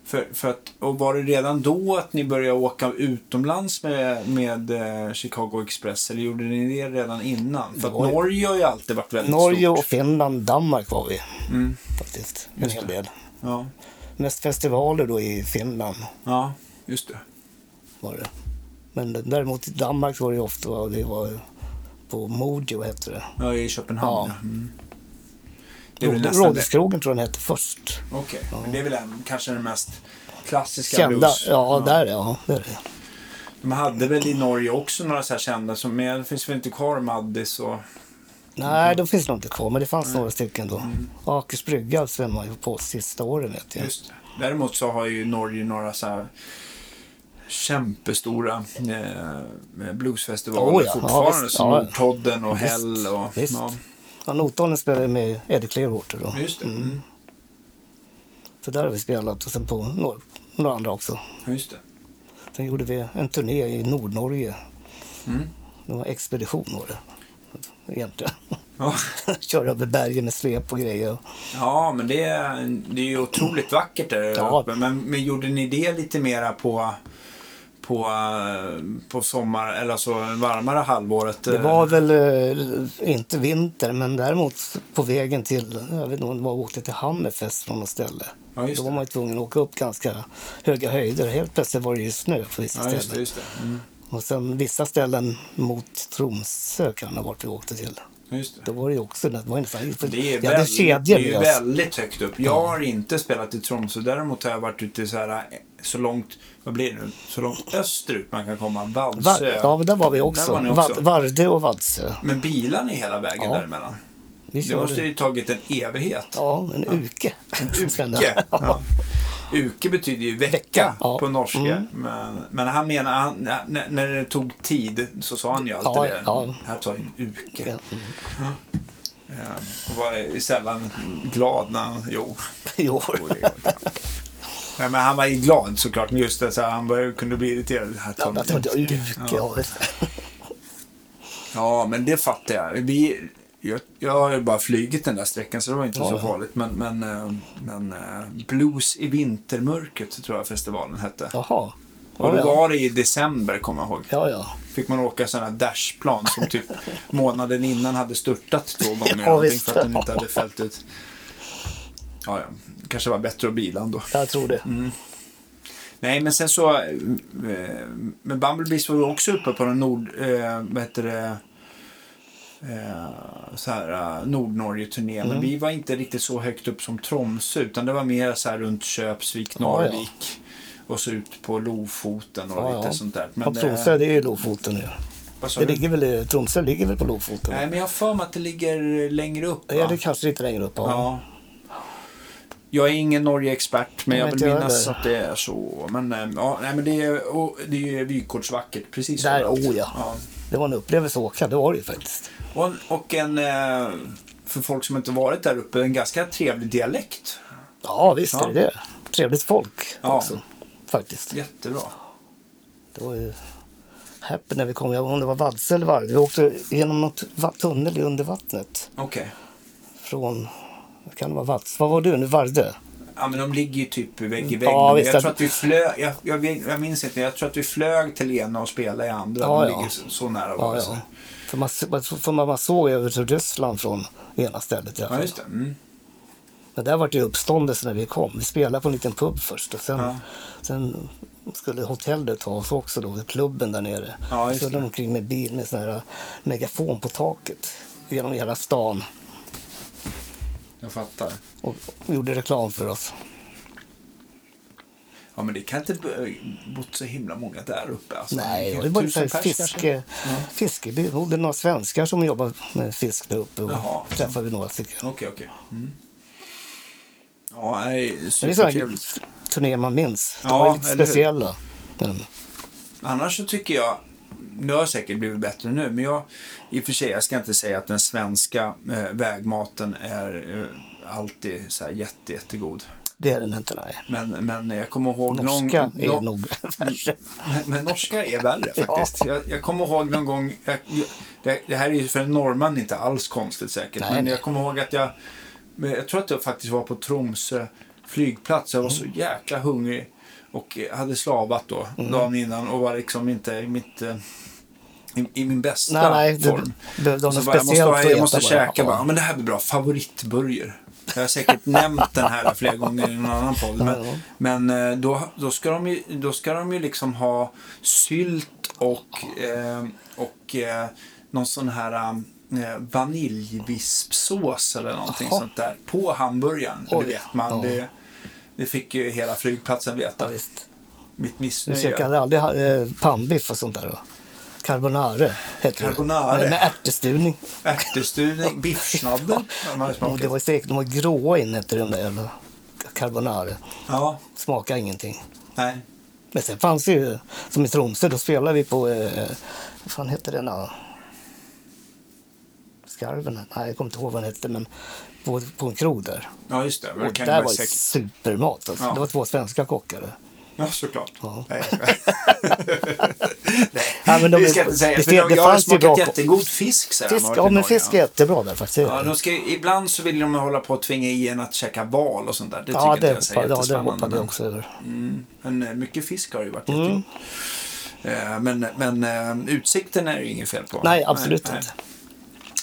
S1: För, för att, och var det redan då att ni började åka utomlands med, med eh, Chicago Express? Eller gjorde ni det redan innan? För att
S2: var ju-
S1: Norge har ju alltid varit väldigt
S2: Norge
S1: stort.
S2: och Finland, Danmark var vi faktiskt. En
S1: Just
S2: hel
S1: det.
S2: del.
S1: Mm. Ja.
S2: Mest festivaler då i Finland
S1: Ja, just det.
S2: var det. Men däremot i Danmark var det ju ofta det var på Mojo hette det.
S1: Ja, i Köpenhamn.
S2: Ja.
S1: Ja. Mm. Det är väl nästan det.
S2: Rådhuskrogen tror jag den hette först.
S1: Okej, men det är väl en, kanske den mest klassiska
S2: Kända,
S1: blues.
S2: ja, där ja, det är det.
S1: De hade väl i Norge också några så här kända, som, men det finns väl inte kvar Maddis och...
S2: Nej, de finns nog inte kvar, men det fanns några stycken då. Akers brygga svämmar man ju på sista åren vet jag.
S1: Mm. Just det. Däremot så har ju Norge några så här kämpestora eh, bluesfestivaler
S2: Oh ja, ja,
S1: fortfarande.
S2: visst,
S1: som
S2: ja.
S1: Nordtodden och
S2: Visst,
S1: Hell och...
S2: visst.
S1: Ja,
S2: Ja, Notalen spelade med Eddie Clearwater då.
S1: just det. Mm.
S2: Så där har vi spelat och sen på några, några andra också.
S1: Just det.
S2: Sen gjorde vi en turné i Nordnorge.
S1: Mm.
S2: Det var expedition var det. Egentligen.
S1: Ja.
S2: Köra över bergen med släp och grejer.
S1: Ja, men det, är- det är ju otroligt vackert där
S2: Ja.
S1: uppe. Men, men gjorde ni det lite mera på, på, eh, på sommar, eller så varmare halvåret?
S2: Det
S1: eh?
S2: var väl eh, inte vinter, men däremot på vägen till, jag vet inte om det var åkte till Hammerfest från något ställe.
S1: Ja, just
S2: Då var
S1: det.
S2: man ju tvungen att åka upp ganska höga höjder. Helt plötsligt var det ju snö på vissa
S1: Ja, just det.
S2: ställen.
S1: Just det. Mm.
S2: Och sen vissa ställen mot Tromsö kan det ha varit vi åkte till.
S1: Mm, Just det.
S2: Då var det ju också, det var ju nästan,
S1: Det är,
S2: vi hade
S1: väldigt, det
S2: kedjor
S1: är ju
S2: med oss.
S1: väldigt högt upp. Jag har inte spelat i Tromsö. Däremot har jag varit ute så här, eh, så långt, vad blir det nu? Så långt österut man kan komma.
S2: Var,
S1: Valsö.
S2: ja, men där var vi
S1: Där var
S2: också.
S1: ni också.
S2: Vad- Varde och Vadsö.
S1: Men bilarna är hela vägen
S2: Ja.
S1: däremellan.
S2: Vi
S1: Det måste
S2: körde,
S1: ju tagit en evighet.
S2: ja, en uke.
S1: Uke. Ja. Uke betyder ju vecka,
S2: Vecka, ja.
S1: på norska.
S2: Mm.
S1: Men, men han menar, han, när, när det tog tid så sa han ju alltid
S2: Ja,
S1: det.
S2: ja.
S1: Här tar en uke.
S2: Ja.
S1: Och var sällan glad när han, jo.
S2: I år.
S1: Nej, men han var ju glad såklart, men just det, så här, han var, kunde bli irriterad. Här tar
S2: Ja,
S1: en
S2: jag trodde
S1: uke.
S2: uke. Ja. visst.
S1: Ja, men det fattar jag. Vi, jag, jag har ju bara flugit den där sträckan så det var inte
S2: Ja,
S1: så
S2: ja.
S1: farligt. Men, men, eh, men eh, Blues i vintermörkret tror jag festivalen hette.
S2: Jaha.
S1: Och
S2: Ja,
S1: då
S2: ja.
S1: var det i december, kommer jag ihåg.
S2: Ja, ja.
S1: Fick man åka sådana här dashplan som typ månaden innan hade störtat två gånger. eller
S2: Ja,
S1: någonting
S2: visst.
S1: för att den inte hade fällt ut. Ja, ja. kanske var bättre att bila ändå.
S2: Jag tror det.
S1: Mm, Nej, men sen så... eh, Men Bumblebees var ju också uppe på den nord... Eh, vad heter det? Eh, så här, eh, Nordnorge-turné.
S2: Mm.
S1: Men vi var inte riktigt så högt upp som Tromsö. Utan det var mer så här runt Köpsvik,
S2: ja.
S1: Narvik. Och så ut på Lofoten och
S2: Ja,
S1: lite
S2: ja.
S1: sånt där. Men,
S2: Men,
S1: eh,
S2: Tromsö, det är ju Lofoten nu.
S1: vad sa
S2: Det
S1: du?
S2: ligger väl, i- Tromsö ligger väl på Lofoten?
S1: Nej, men jag har för mig att det ligger längre upp.
S2: Ja,
S1: va?
S2: det kanske lite längre upp. Ja.
S1: Ja. Jag är ingen Norge-expert, men
S2: Nej,
S1: jag vill
S2: inte jag
S1: minnas
S2: heller.
S1: att det är så. Men, eh, ja, nej, men det är, och, det är ju vykortsvackert, precis.
S2: Där,
S1: överallt.
S2: oh ja. Det var en upplevelse att åka, det var det ju faktiskt.
S1: Och, en- och en, eh, för folk som inte varit där uppe, en ganska trevlig dialekt.
S2: Ja, visst
S1: Ja.
S2: är det det. Trevligt folk
S1: Ja.
S2: också, faktiskt.
S1: Jättebra.
S2: Det var ju happy när vi kom, jag vet inte om det var Vadsö eller Varde. Vi åkte genom något va- tunnel under vattnet
S1: Okej.
S2: från, vad kan det vara, Vads? Vad var du nu, Varde?
S1: Ja, men de ligger ju typ vägg i vägg.
S2: Mm. Ja, visst,
S1: jag, tror
S2: det-
S1: att vi flög, jag, jag, vet- jag minns inte, men jag tror att vi flög till ena och spelade i andra.
S2: Ja,
S1: de
S2: ja.
S1: ligger så, så nära
S2: Ja,
S1: varandra.
S2: ja. För man, för man, man såg över till Ryssland från ena stället. i alla
S1: ja,
S2: fall.
S1: just det. Mm.
S2: Men där var det ju uppståndelse när vi kom. Vi spelade på en liten pub först och sen,
S1: Ja.
S2: sen skulle hotellet ta oss också då, klubben där nere.
S1: Ja, just
S2: så
S1: det.
S2: de omkring med bil med sån här äh, megafon på taket genom hela stan
S1: Jag fattar.
S2: och gjorde reklam för oss.
S1: Ja, men det kan inte b- bott så himla många där uppe. Alltså.
S2: Nej,
S1: Kanske
S2: det var ju så
S1: tusen
S2: här
S1: pers kanske?
S2: fiske, fiskeby. Det bodde några svenskar som jobbade med fisk där uppe och
S1: Jaha.
S2: träffade vi några stycken.
S1: Okej, okej. Mm. Ja, nej,
S2: Men det är sådana
S1: supertrevligt.
S2: här turnéer man minns. De
S1: Ja,
S2: var ju lite
S1: eller hur?
S2: speciella. Men,
S1: Annars så tycker jag, nu har jag säkert blivit bättre nu, men jag i och för sig, jag ska inte säga att den svenska eh, vägmaten är eh, alltid så här jätte, jättegod.
S2: det är den inte, nej.
S1: Men, men jag kommer ihåg
S2: Norska
S1: någon...
S2: är
S1: nå-
S2: nog värre.
S1: Men- Men norska är värre faktiskt.
S2: Ja.
S1: Jag, jag kommer ihåg någon gång, jag, jag, det, det här är ju för en norrman inte alls konstigt säkert,
S2: Nej,
S1: men
S2: nej.
S1: jag kommer ihåg att jag, men jag tror att jag faktiskt var på Tromsö flygplats. Jag var
S2: Mm.
S1: så jäkla hungrig och eh, hade slavat då dagen innan och var liksom inte i mitt eh, i, i min bästa
S2: Nej, nej, du
S1: form.
S2: behövde ha
S1: Så
S2: något
S1: bara, jag måste,
S2: speciellt
S1: ha-
S2: att
S1: jag
S2: äta
S1: måste
S2: bara.
S1: käka
S2: Ja.
S1: bara, ja, men det här blir bra, favoritburger. Jag har säkert nämnt den här flera gånger i någon annan podd. Men,
S2: Ja.
S1: men eh, då, då, ska de ju, då ska de ju liksom ha sylt och, eh, och eh, någon sån här eh, vaniljvispsås eller någonting
S2: Jaha.
S1: sånt där på hamburgaren.
S2: Oj.
S1: Det vet man.
S2: Ja.
S1: Det, det fick ju hela flygplatsen veta.
S2: Ja, visst.
S1: mitt
S2: Nu käkar
S1: missnöje.
S2: jag aldrig eh, pannbiff och sånt där. då. Carbonare heter
S1: Carbonare.
S2: det. Med ärtestuvning.
S1: Ärtestuvning, biffschnabel. har man ju
S2: Och Det
S1: smakat.
S2: var säkert, de var gråa in hette de där jävla carbonare.
S1: Ja,
S2: Smakade ingenting.
S1: nej.
S2: Men sen fanns det ju, som i Tromsö, då spelade vi på, eh, vad fan hette den då? Skarven? Nej, jag kommer inte ihåg vad den hette, men på, på en krog där.
S1: Ja, just det.
S2: Och
S1: Det kan
S2: där
S1: ju
S2: var
S1: vara
S2: det
S1: sex.
S2: supermat. Alltså.
S1: Ja.
S2: Det var två svenska kockar.
S1: Ja, såklart.
S2: Ja.
S1: Nej,
S2: Ja, men de-
S1: vi ska inte säga,
S2: det-
S1: för
S2: det
S1: jag, jag har
S2: fanns ju bra
S1: smakat
S2: ko-
S1: jättegod fisk sen. när jag
S2: Fisk,
S1: varit i
S2: ja, men
S1: Norge.
S2: fisk är jättebra där faktiskt.
S1: Ja, de ska, ju- ibland så vill de hålla på att tvinga i en att käka val och sånt där. Det tycker
S2: Ja,
S1: inte
S2: det,
S1: jag är så
S2: hoppade, ja, det
S1: jättespännande,
S2: hoppade jag
S1: men-
S2: också Mm. över.
S1: Mm. Men eh, mycket fisk har det ju varit. jättegott. Eh, Men, men eh, utsikten är ju inget fel på.
S2: Nej, absolut
S1: nej.
S2: inte.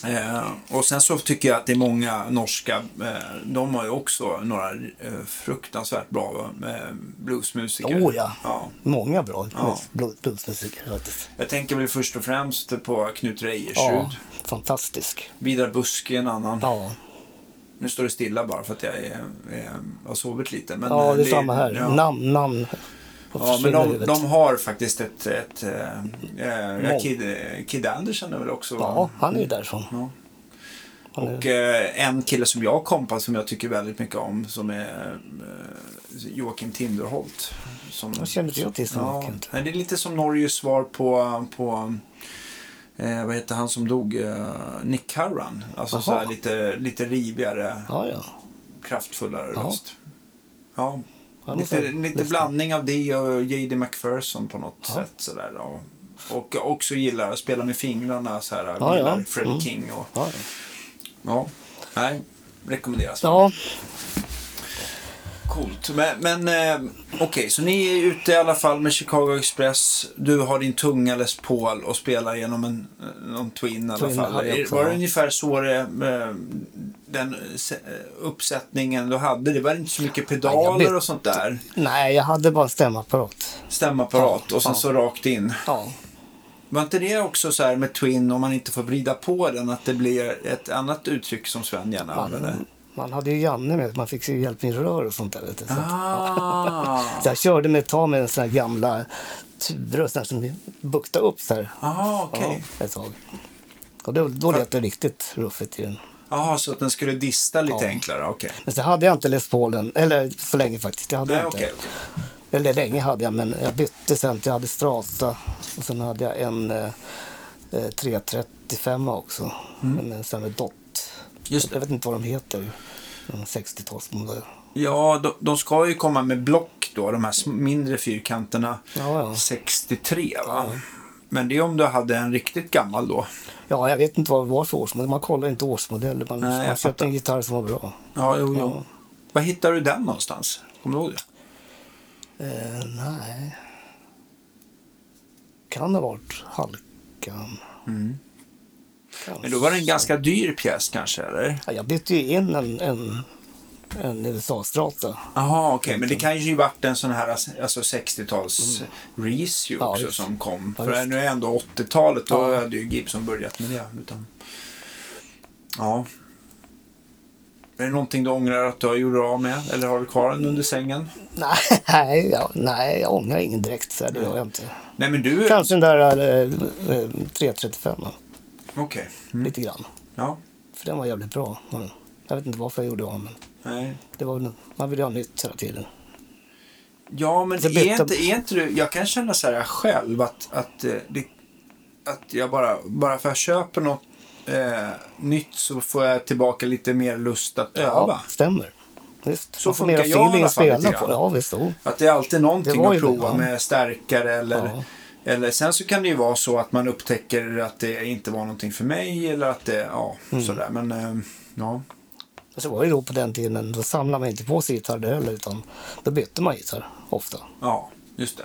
S1: Eh, och sen så tycker jag att det är många norska, eh, de har ju också några eh, fruktansvärt bra eh, bluesmusiker.
S2: Åh, Oh, ja.
S1: ja.
S2: Många bra
S1: Ja.
S2: blu- bluesmusiker faktiskt.
S1: Jag tänker väl först och främst på Knut
S2: Ja,
S1: Reiersrud.
S2: fantastisk.
S1: Vidar Buske en annan.
S2: Ja,
S1: Nu står det stilla bara för att jag är, är, har sovit lite. Men
S2: ja
S1: eh,
S2: det är samma här.
S1: ja.
S2: Namn, namn.
S1: Ja, men
S2: försvinner i
S1: de,
S2: huvudet.
S1: de har faktiskt ett... ett eh, eh,
S2: Mål.
S1: Kid, eh, Kid Andersen är väl också...
S2: Ja, han är ju därifrån.
S1: Ja.
S2: Han är-
S1: Och eh, en kille som jag kompar som jag tycker väldigt mycket om som är eh, Joakim Tinderholt. Som,
S2: Jag känner inte till så
S1: ja,
S2: mycket inte.
S1: nej, Det är lite som Norges svar på, på eh, vad heter han som dog? Eh, Nick Curran. Alltså
S2: Jaha.
S1: så här lite, lite rivigare,
S2: Ja, ja.
S1: kraftfullare
S2: Jaha.
S1: röst. Ja,
S2: Ja, det
S1: lite,
S2: får jag
S1: lite
S2: lyssna.
S1: blandning av det och J.D. McPherson på något
S2: Ja.
S1: sätt. Så där, och, och också gillar att spela med fingrarna. Så här,
S2: Ja,
S1: gillar
S2: ja.
S1: Freddie
S2: Mm.
S1: King och
S2: Ja, ja.
S1: Ja, nej, rekommenderas.
S2: ja,
S1: Coolt. Men, men eh, okej, så ni är ute i alla fall med Chicago Express. Du har din tunga Les Paul och spelar genom en eh, någon Twin i alla
S2: Twin
S1: fall.
S2: hade jag
S1: Är-
S2: också,
S1: var det
S2: ja.
S1: ungefär så det, eh, den se- eh, uppsättningen du hade? Det var inte så mycket
S2: jag
S1: pedaler
S2: bytte.
S1: och sånt där.
S2: nej, jag hade bara en stämapparat.
S1: Stämapparat och sen
S2: Ja.
S1: så rakt in.
S2: Ja,
S1: Var inte det också så här med Twin, om man inte får vrida på den, att det blir ett annat uttryck som Sven gärna använder?
S2: man, man hade ju Janne med, man fick ju hjälp med rör och sånt där. Vet du. Så att-
S1: Ah.
S2: Så jag körde med ett tag med en sån här gamla tuber och sån här som vi buktade upp så här.
S1: Aha, ah, okej.
S2: Ja, ett tag. Och då, då lät det riktigt ruffigt i den.
S1: Jaha, så att den skulle dista lite enklare? Okej.
S2: Men så hade jag inte Les Paulen, eller så länge faktiskt. Jag hade
S1: Nej,
S2: inte.
S1: okej. okej.
S2: Eller länge hade jag, men jag bytte sen. till- Jag hade Strata och sen hade jag en eh, eh, 335 också. Men en sån här med dot.
S1: Mm. Just det.
S2: jag vet inte vad de heter. En 60-talsmodell.
S1: Ja, de, de ska ju komma med block då, de här sm- mindre fyrkanterna.
S2: Ja, ja.
S1: 63 va? Men det är om du hade en riktigt gammal då.
S2: Ja, jag vet inte vad det var för årsmodell. Man kollar inte årsmodeller. Man,
S1: Nej, jag
S2: man köpte
S1: fattar.
S2: en gitarr som var bra.
S1: Ja, jo, jo. Var hittar du den någonstans? Kommer du ihåg det?
S2: Eh, nej. Kan ha varit Halkan. Kanske.
S1: Mm. Men då var det en ganska dyr pjäs kanske, eller?
S2: Ja, jag bytte ju in en, en, en USA-strata.
S1: Jaha, okej. Men det kan ju varit en sån här alltså 60-tals reissue
S2: Mm. Ja,
S1: också
S2: visst.
S1: som kom.
S2: Ja,
S1: För
S2: visst.
S1: nu är ändå 80-talet, då
S2: Ja.
S1: hade ju Gibson börjat med det. Utan... Ja. Är det någonting du ångrar att du har gjort av med? Eller har du kvar den under sängen?
S2: Nej, nej, jag, nej, jag ångrar ingen direkt. Så här, det gör jag inte.
S1: Nej, men du...
S2: Kanske den där eh, eh, 335
S1: Okej. Mm.
S2: lite grann.
S1: Ja.
S2: För den var jävligt bra. Men Jag vet inte varför jag gjorde av men
S1: Nej.
S2: det var, väl- man ville ha nytt hela tiden.
S1: Ja, men
S2: Så
S1: är
S2: bytte-
S1: inte, är inte du... Jag kan känna så här själv att, att, eh, det, att jag bara... Bara för att jag köper något eh, nytt så får jag tillbaka lite mer lust att öva.
S2: stämmer. Visst.
S1: Så
S2: Man får
S1: funkar
S2: mera
S1: jag i alla
S2: feeling att
S1: fall lite
S2: spela
S1: grann.
S2: på. Ja, visst. Oh.
S1: Att det är alltid
S2: Det
S1: någonting
S2: var
S1: att
S2: ju det,
S1: prova
S2: ja.
S1: med stärkare eller,
S2: Ja.
S1: eller sen så kan det ju vara så att man upptäcker att det inte var någonting för mig eller att det, ja
S2: Mm.
S1: sådär men eh, ja.
S2: Och Så var det ju då på den tiden, då samlade man inte på sig gitarr där heller, utan då bytte man gitarr ofta.
S1: ja, just det.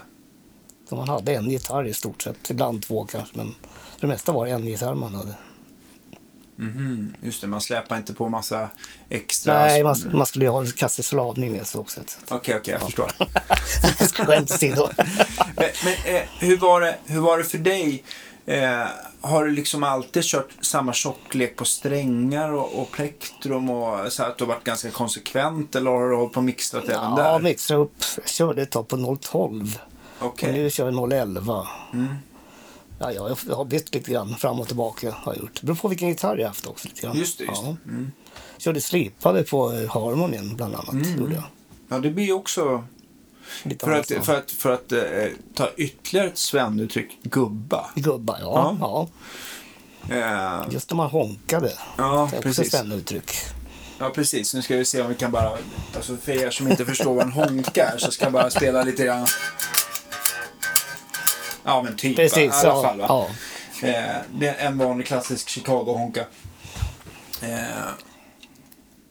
S2: Så man hade en gitarr i stort sett, ibland två kanske, men för det mesta var det en gitarr man hade.
S1: Mhm, Just det, man släpar inte på massa extra.
S2: Nej, man,
S1: alltså-
S2: man skulle ju ha en kasse slavning med sig också. så
S1: Okej, okej, jag förstår.
S2: att- Skämt åsido.
S1: Men, men eh, hur, var det, hur var det för dig? Eh, har du liksom alltid kört samma tjocklek på strängar och, och plektrum och så här att du har varit ganska konsekvent eller har du hållit på och mixtrat även
S2: Ja,
S1: där?
S2: mixtra upp. Jag körde ett tag på 012.
S1: Okej. Mm.
S2: Och nu kör jag 011. Ja, ja, jag har bytt lite grann fram och tillbaka. Har jag gjort. Det beror på vilken gitarr jag haft också. Lite grann.
S1: Just det, just det.
S2: Ja. Körde slipade på eh, harmonien bland annat. Gjorde jag.
S1: Ja, det blir ju också...
S2: Lite
S1: Mm. För att,
S2: annat, ja.
S1: för att, för att eh, ta ytterligare ett svennuttryck, gubba.
S2: Gubbar, ja.
S1: Ja.
S2: ja.
S1: Eh,
S2: Just när man honkade.
S1: Ja,
S2: det är också
S1: precis.
S2: ett uttryck.
S1: ja, precis. Nu ska vi se om vi kan bara... Alltså för er som inte förstår vad en honka är så ska jag bara spela lite grann. Ja, men typ. va?
S2: Precis,
S1: I alla
S2: ja.
S1: fall, va?
S2: ja.
S1: Eh, det är en vanlig klassisk Chicago-honka. Eh,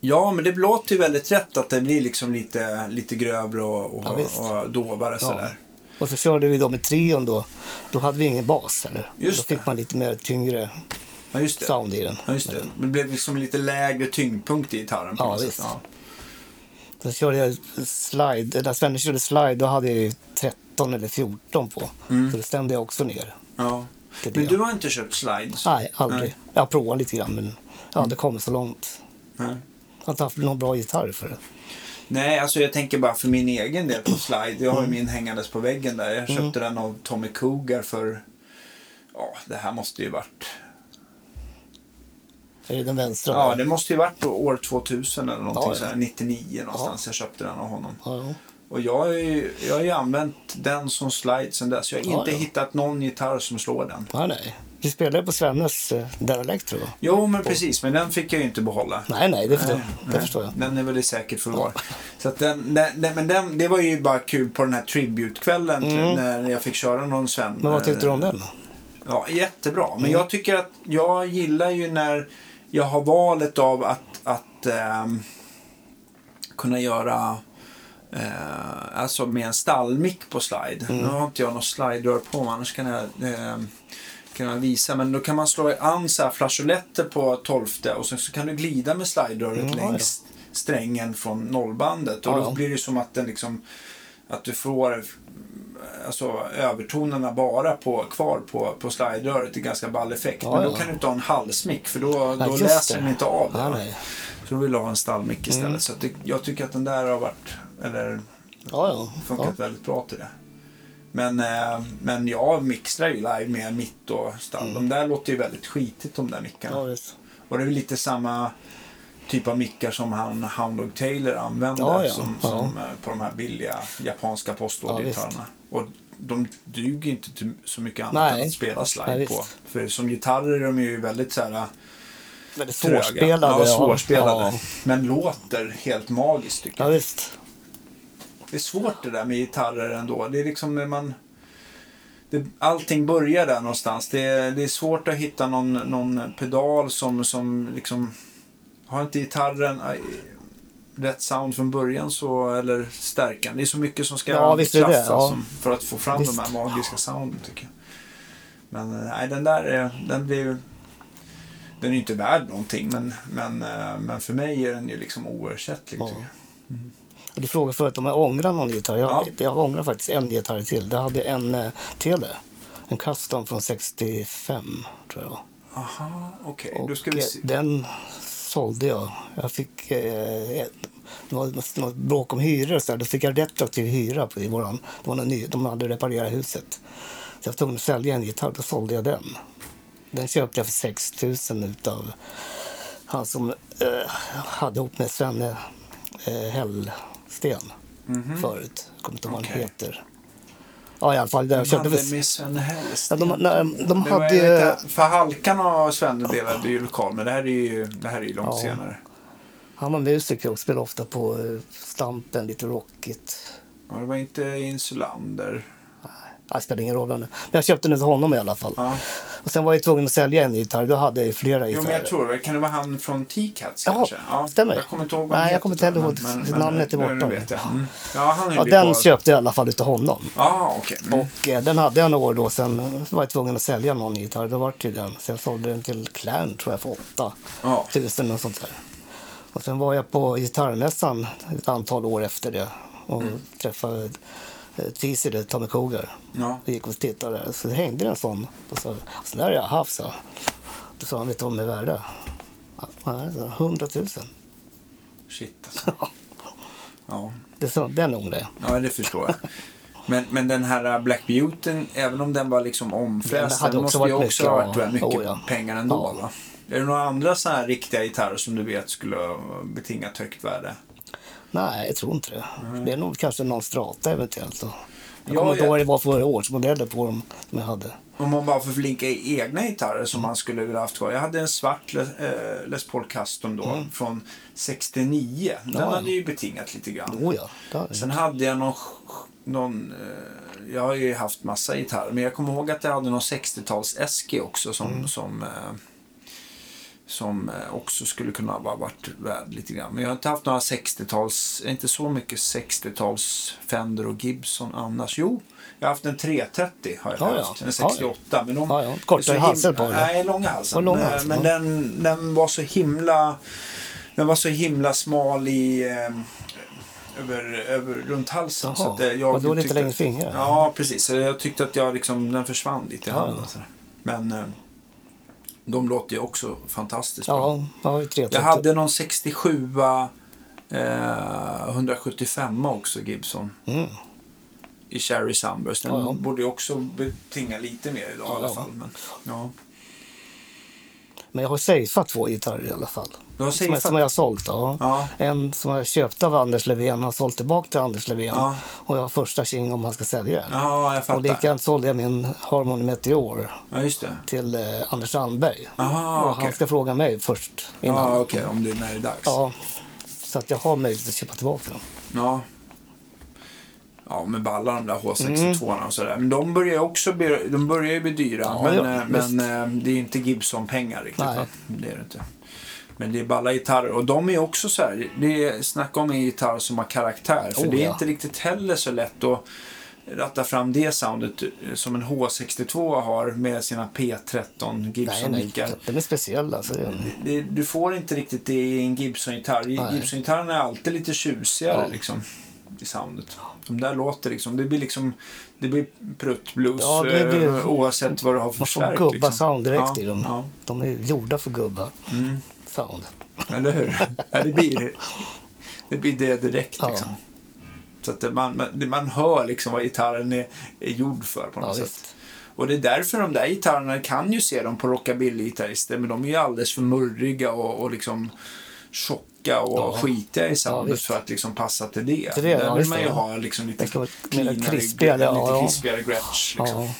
S1: ja, men det låter ju väldigt rätt att det blir liksom lite, lite grövre och, och,
S2: Ja, visst.
S1: och dovare sådär.
S2: Och så körde vi då med trion då. Då hade vi ingen bas eller?
S1: Just
S2: Då
S1: det.
S2: fick man lite mer tyngre
S1: Ja, just det.
S2: sound i den.
S1: Ja, just det. Men det blev liksom lite lägre tyngdpunkt i gitarren. på
S2: Ja,
S1: något sätt.
S2: visst. Då körde jag slide. När Svenne körde slide då hade jag ju 13 eller 14 på.
S1: Mm.
S2: Så det stämde jag också ner.
S1: Ja.
S2: Det är
S1: Men
S2: det.
S1: du har inte köpt slides?
S2: Nej, aldrig.
S1: Nej. Mm.
S2: Jag har provat lite grann men jag har inte kommit så långt.
S1: Nej.
S2: Jag har inte haft någon bra gitarr för det.
S1: Nej, alltså jag tänker bara för min egen del på slide. Jag har
S2: Mm.
S1: ju min hängandes på väggen där. Jag köpte den av Tommy Cougar för... Ja, det här måste ju varit...
S2: Är det den vänstra?
S1: Ja,
S2: där?
S1: det måste ju varit år 2000 eller någonting
S2: Ja, ja.
S1: sådär. 99 någonstans. Jag köpte den av honom.
S2: Ja, ja.
S1: Och jag har ju, jag har ju använt den som slide sedan dess. Jag har
S2: Ja,
S1: inte
S2: ja.
S1: hittat någon gitarr som slår den.
S2: Nej, nej. Vi spelade på Svennes eh, Den Electro. va?
S1: Jo, men precis. Men den fick jag ju inte behålla.
S2: Nej, nej, det, det, det
S1: Nej,
S2: förstår jag.
S1: Den är väl i säkert förvar. Så att den, den, den, men den, det var ju bara kul på den här tributkvällen till- när jag fick köra någon Sven.
S2: Mm. Men vad tyckte du om den?
S1: Ja, jättebra.
S2: Mm.
S1: Men jag tycker att jag gillar ju när jag har valet av att, att ehm, kunna göra eh, alltså med en stallmick på slide.
S2: Mm.
S1: Nu har inte jag någon slide-rör på mig, annars kan jag, eh, kan jag visa. Men då kan man slå an så här flageoletter på tolfte och sen så kan du glida med slide-röret
S2: Mm, ja, ja.
S1: längs strängen från nollbandet. Och
S2: Ja,
S1: då
S2: ja.
S1: blir det ju som att den liksom att du får alltså, övertonerna bara på, kvar på, på slide-röret. Det är ganska ball effekt.
S2: Ja,
S1: Men då
S2: ja.
S1: kan du inte ha en halsmick för då,
S2: Ja,
S1: då
S2: just
S1: läser
S2: det.
S1: den inte av det.
S2: Ja,
S1: va?
S2: nej. Mm.
S1: Så då vill jag ha en stallmick istället. Så att det, jag tycker att den där har varit, eller
S2: Ja, ja.
S1: funkat
S2: ja.
S1: väldigt bra till det. Men, eh, men jag mixar ju live med mitt och stall. De där låter ju väldigt skitigt de där mickarna.
S2: Mm. ja visst.
S1: Och det är väl lite samma typ av mickar som han Hound Dog Taylor använde
S2: Ja, ja.
S1: Som,
S2: Ja.
S1: som, eh, på de här billiga japanska postordergitarrerna. och de duger inte till så mycket annat
S2: Nej.
S1: än att spela slide
S2: Nej, visst.
S1: på. För som gitarrer är de ju väldigt så här
S2: Väldigt
S1: tröga.
S2: svårspelade.
S1: Ja, svårspelade.
S2: Ja,
S1: Men låter helt magiskt tycker
S2: ja
S1: jag.
S2: visst.
S1: Det är svårt det där med gitarrer ändå. Det är liksom när man... Det, allting börjar där någonstans. Det, är- det är svårt att hitta någon, någon pedal som, som liksom... Har inte gitarren eh, rätt sound från början så, eller stärkan. Det är så mycket som ska
S2: Ja, visst är det det,
S1: klaffas
S2: ja.
S1: som- för att få fram
S2: Visst.
S1: de här magiska sounden tycker jag. Men eh, nej, den där är, den blir ju... Den är ju inte värd någonting men, men, eh, men för mig är den ju liksom oersättlig.
S2: Ja.
S1: tycker jag.
S2: Och Du frågade förut om jag ångrar någon gitarr. Jag,
S1: Ja.
S2: jag ångrar faktiskt en gitarr till. Det hade jag en eh, Tele. En custom från 65, tror jag.
S1: Aha, okej.
S2: Och
S1: Då ska vi
S2: eh,
S1: se.
S2: den sålde jag. Jag fick eh, ett- det var något bråk om hyror och så där. Då fick jag retroaktiv hyra på i våran. Det var någon ny, de hade reparerat huset. Så jag var tvungen att sälja en gitarr. Då sålde jag den. Den köpte jag för 6 000 utav han som eh, hade ihop med Svenne eh, Hellsten förut. Jag kommer inte ihåg vad han
S1: Mhm. Okej.
S2: heter. Ja, i alla fall. Jag köpte
S1: Hade
S2: för...
S1: med Sven Hellst.
S2: Ja, de, nej, de
S1: Det var-
S2: hade
S1: jag
S2: ju...
S1: vet inte, För Halkan och Svenne delade ju lokal, men det här är ju, det här är ju långt
S2: Ja.
S1: senare.
S2: Han var musiker och spelade ofta på eh, Stampen, lite rockigt.
S1: Ja, det var inte Insulander.
S2: Ah, Det spelar ingen roll. vad det är. Men jag köpte den till honom i alla fall.
S1: Ja.
S2: Och sen var jag tvungen att sälja en gitarr. Då hade jag ju flera
S1: Jo,
S2: gitarrer.
S1: men jag tror det. Kan det vara han från T-Cats
S2: Ja,
S1: kanske?
S2: stämmer.
S1: Jag kommer inte ihåg vad han
S2: Nej,
S1: heter,
S2: jag kommer inte heller
S1: men-
S2: ihåg.
S1: men- men
S2: Namnet är
S1: nu-
S2: borta.
S1: nu vet jag. Mm. Ja, han är
S2: Ja,
S1: ju
S2: den
S1: kvar.
S2: köpte jag i alla fall utav honom.
S1: Ja, okej. Mm.
S2: Och eh, den hade jag några år då. Sen eh, var jag tvungen att sälja någon gitarr. Då var det ju den. Så jag sålde den till Clan tror jag för 8
S1: Ja.
S2: tusen och sånt där. Och sen var jag på gitarrmässan ett antal år efter det. Och
S1: Mm.
S2: träffade eh, Tisile, Tommy Cougar.
S1: Ja.
S2: Vi gick och tittade där. Så det hängde en sån. Och så, så där har jag haft, så. Då sa han, vet du vad de är värda? Ja, nej, sa jag, 100 000.
S1: Shit alltså. Ja.
S2: Det sa, den ångrar jag.
S1: ja, det förstår jag. Men, men den här Black Beauty, även om den var liksom
S2: Den
S1: omfräst,
S2: hade
S1: den
S2: också
S1: måste ju
S2: varit
S1: också
S2: mycket,
S1: ha varit
S2: ja.
S1: väl mycket
S2: Oh, ja.
S1: pengar ändå.
S2: Ja.
S1: Va? Är det några andra sådana här riktiga gitarrer som du vet skulle ha betingat högt värde?
S2: Nej, jag tror inte det. Det är nog kanske någon strata eventuellt. Då. Jag
S1: Mm. Ja,
S2: kommer inte
S1: ja.
S2: ihåg vad det var för årsmodeller på dem som jag hade.
S1: Om man bara får flinka i egna gitarrer som man skulle vilja haft kvar. Jag hade en svart Les, eh, Les Paul Custom då från 69. Den
S2: Mm. Ja.
S1: hade ju betingat lite grann.
S2: Oh ja, det hade jag.
S1: Sen hade jag någon... sch- någon eh, jag har ju haft massa gitarrer, men jag kommer ihåg att jag hade någon 60-tals Eski också som,
S2: Mm.
S1: som, eh, som eh, också skulle kunna ha varit värd lite grann. Men jag har inte haft några 60-tals, inte så mycket 60-tals Fender och Gibson annars. Jo, jag har haft en 330 har jag
S2: Ja, ja.
S1: haft,
S2: Ja, ja.
S1: en 68. Men de,
S2: Ja, ja.
S1: det är så
S2: Kortare halsar
S1: him-
S2: på den.
S1: Nej, långa halsar.
S2: Och långa
S1: Men-
S2: halsar,
S1: men
S2: ja.
S1: den, den var så himla... Den var så himla smal i... Eh, över, över runt halsen.
S2: Jaha,
S1: Så att eh, jag
S2: och då lite
S1: tyckte-
S2: längre fingrar.
S1: Ja, precis. Så jag tyckte att jag liksom, den försvann lite i
S2: Ja,
S1: handen.
S2: ja.
S1: sådär. Men eh, de låter ju också fantastiskt bra.
S2: Ja, jag har ju typ. 330.
S1: Jag hade någon 67 eh, 175 också, Gibson.
S2: Mm.
S1: I Cherry Sunburst. Den
S2: Ja, ja.
S1: borde ju också betinga lite mer idag i
S2: Ja,
S1: alla
S2: ja.
S1: fall. Men, ja.
S2: Men jag har safeat två gitarrer i alla fall.
S1: Du har
S2: Som, jag- som
S1: safeat.
S2: jag har sålt. Ja.
S1: Ja.
S2: En som jag köpte av Anders Levén har sålt tillbaka till Anders Levén.
S1: Ja.
S2: Och jag har första tjing om han ska sälja den.
S1: Ja, jag
S2: och
S1: fattar.
S2: likadant sålde jag min Harmony Meteor
S1: Ja, just det.
S2: till eh, Anders Sandberg.
S1: Aha,
S2: och
S1: okej.
S2: Han ska fråga mig först innan.
S1: Ja, okej. Om det när det är dags.
S2: Ja, så att jag har möjlighet att köpa tillbaka dem.
S1: Ja. Ja, men balla de där H62 orna och sådär. Men de börjar ju också bli, de börjar ju bli dyra.
S2: Mm. Ja,
S1: men
S2: ja,
S1: eh,
S2: visst.
S1: men eh, det är ju inte Gibson-pengar riktigt.
S2: Nej.
S1: Va? Det är det inte. Men det är balla gitarrer. Och de är också så här. Det är, snacka om en gitarr som har karaktär. För
S2: Oh,
S1: det är
S2: ja.
S1: inte riktigt heller så lätt att ratta fram det soundet eh, som en H62 har med sina P13
S2: Nej, nej,
S1: Gibson-mickar
S2: de är speciella. Så det,
S1: det, du får inte riktigt det i en Gibson-gitarr.
S2: Nej.
S1: Gibson-gitarrerna är alltid lite tjusigare
S2: Ja.
S1: liksom, i soundet. De där låter liksom, det blir liksom, det blir pruttblues
S2: Ja, det blir-
S1: eh, oavsett vad du har för
S2: man får
S1: förstärk.
S2: gubba-sound direkt
S1: liksom. ja,
S2: i dem.
S1: Ja, Mm.
S2: De är gjorda för gubbar. Sound.
S1: eller hur? ja, det, blir, det blir det direkt
S2: Ja.
S1: liksom. Så att det- man, man, det- man hör liksom vad gitarren är, är gjord för på
S2: Ja,
S1: något sätt.
S2: visst.
S1: Och det är därför de där gitarrerna kan ju se dem på rockabilly-gitarrister, men de är ju alldeles för murriga och, och liksom tjocka och
S2: Ja.
S1: skitiga i
S2: Ja,
S1: soundet
S2: visst.
S1: för att liksom passa till det.
S2: Till det,
S1: där
S2: ja,
S1: vill
S2: visst,
S1: man ju
S2: ja.
S1: ha liksom lite
S2: Det ska vara
S1: cleanare,
S2: mer krispigare,
S1: lite
S2: ja, ja.
S1: krispigare Gretsch. Liksom.
S2: Ja.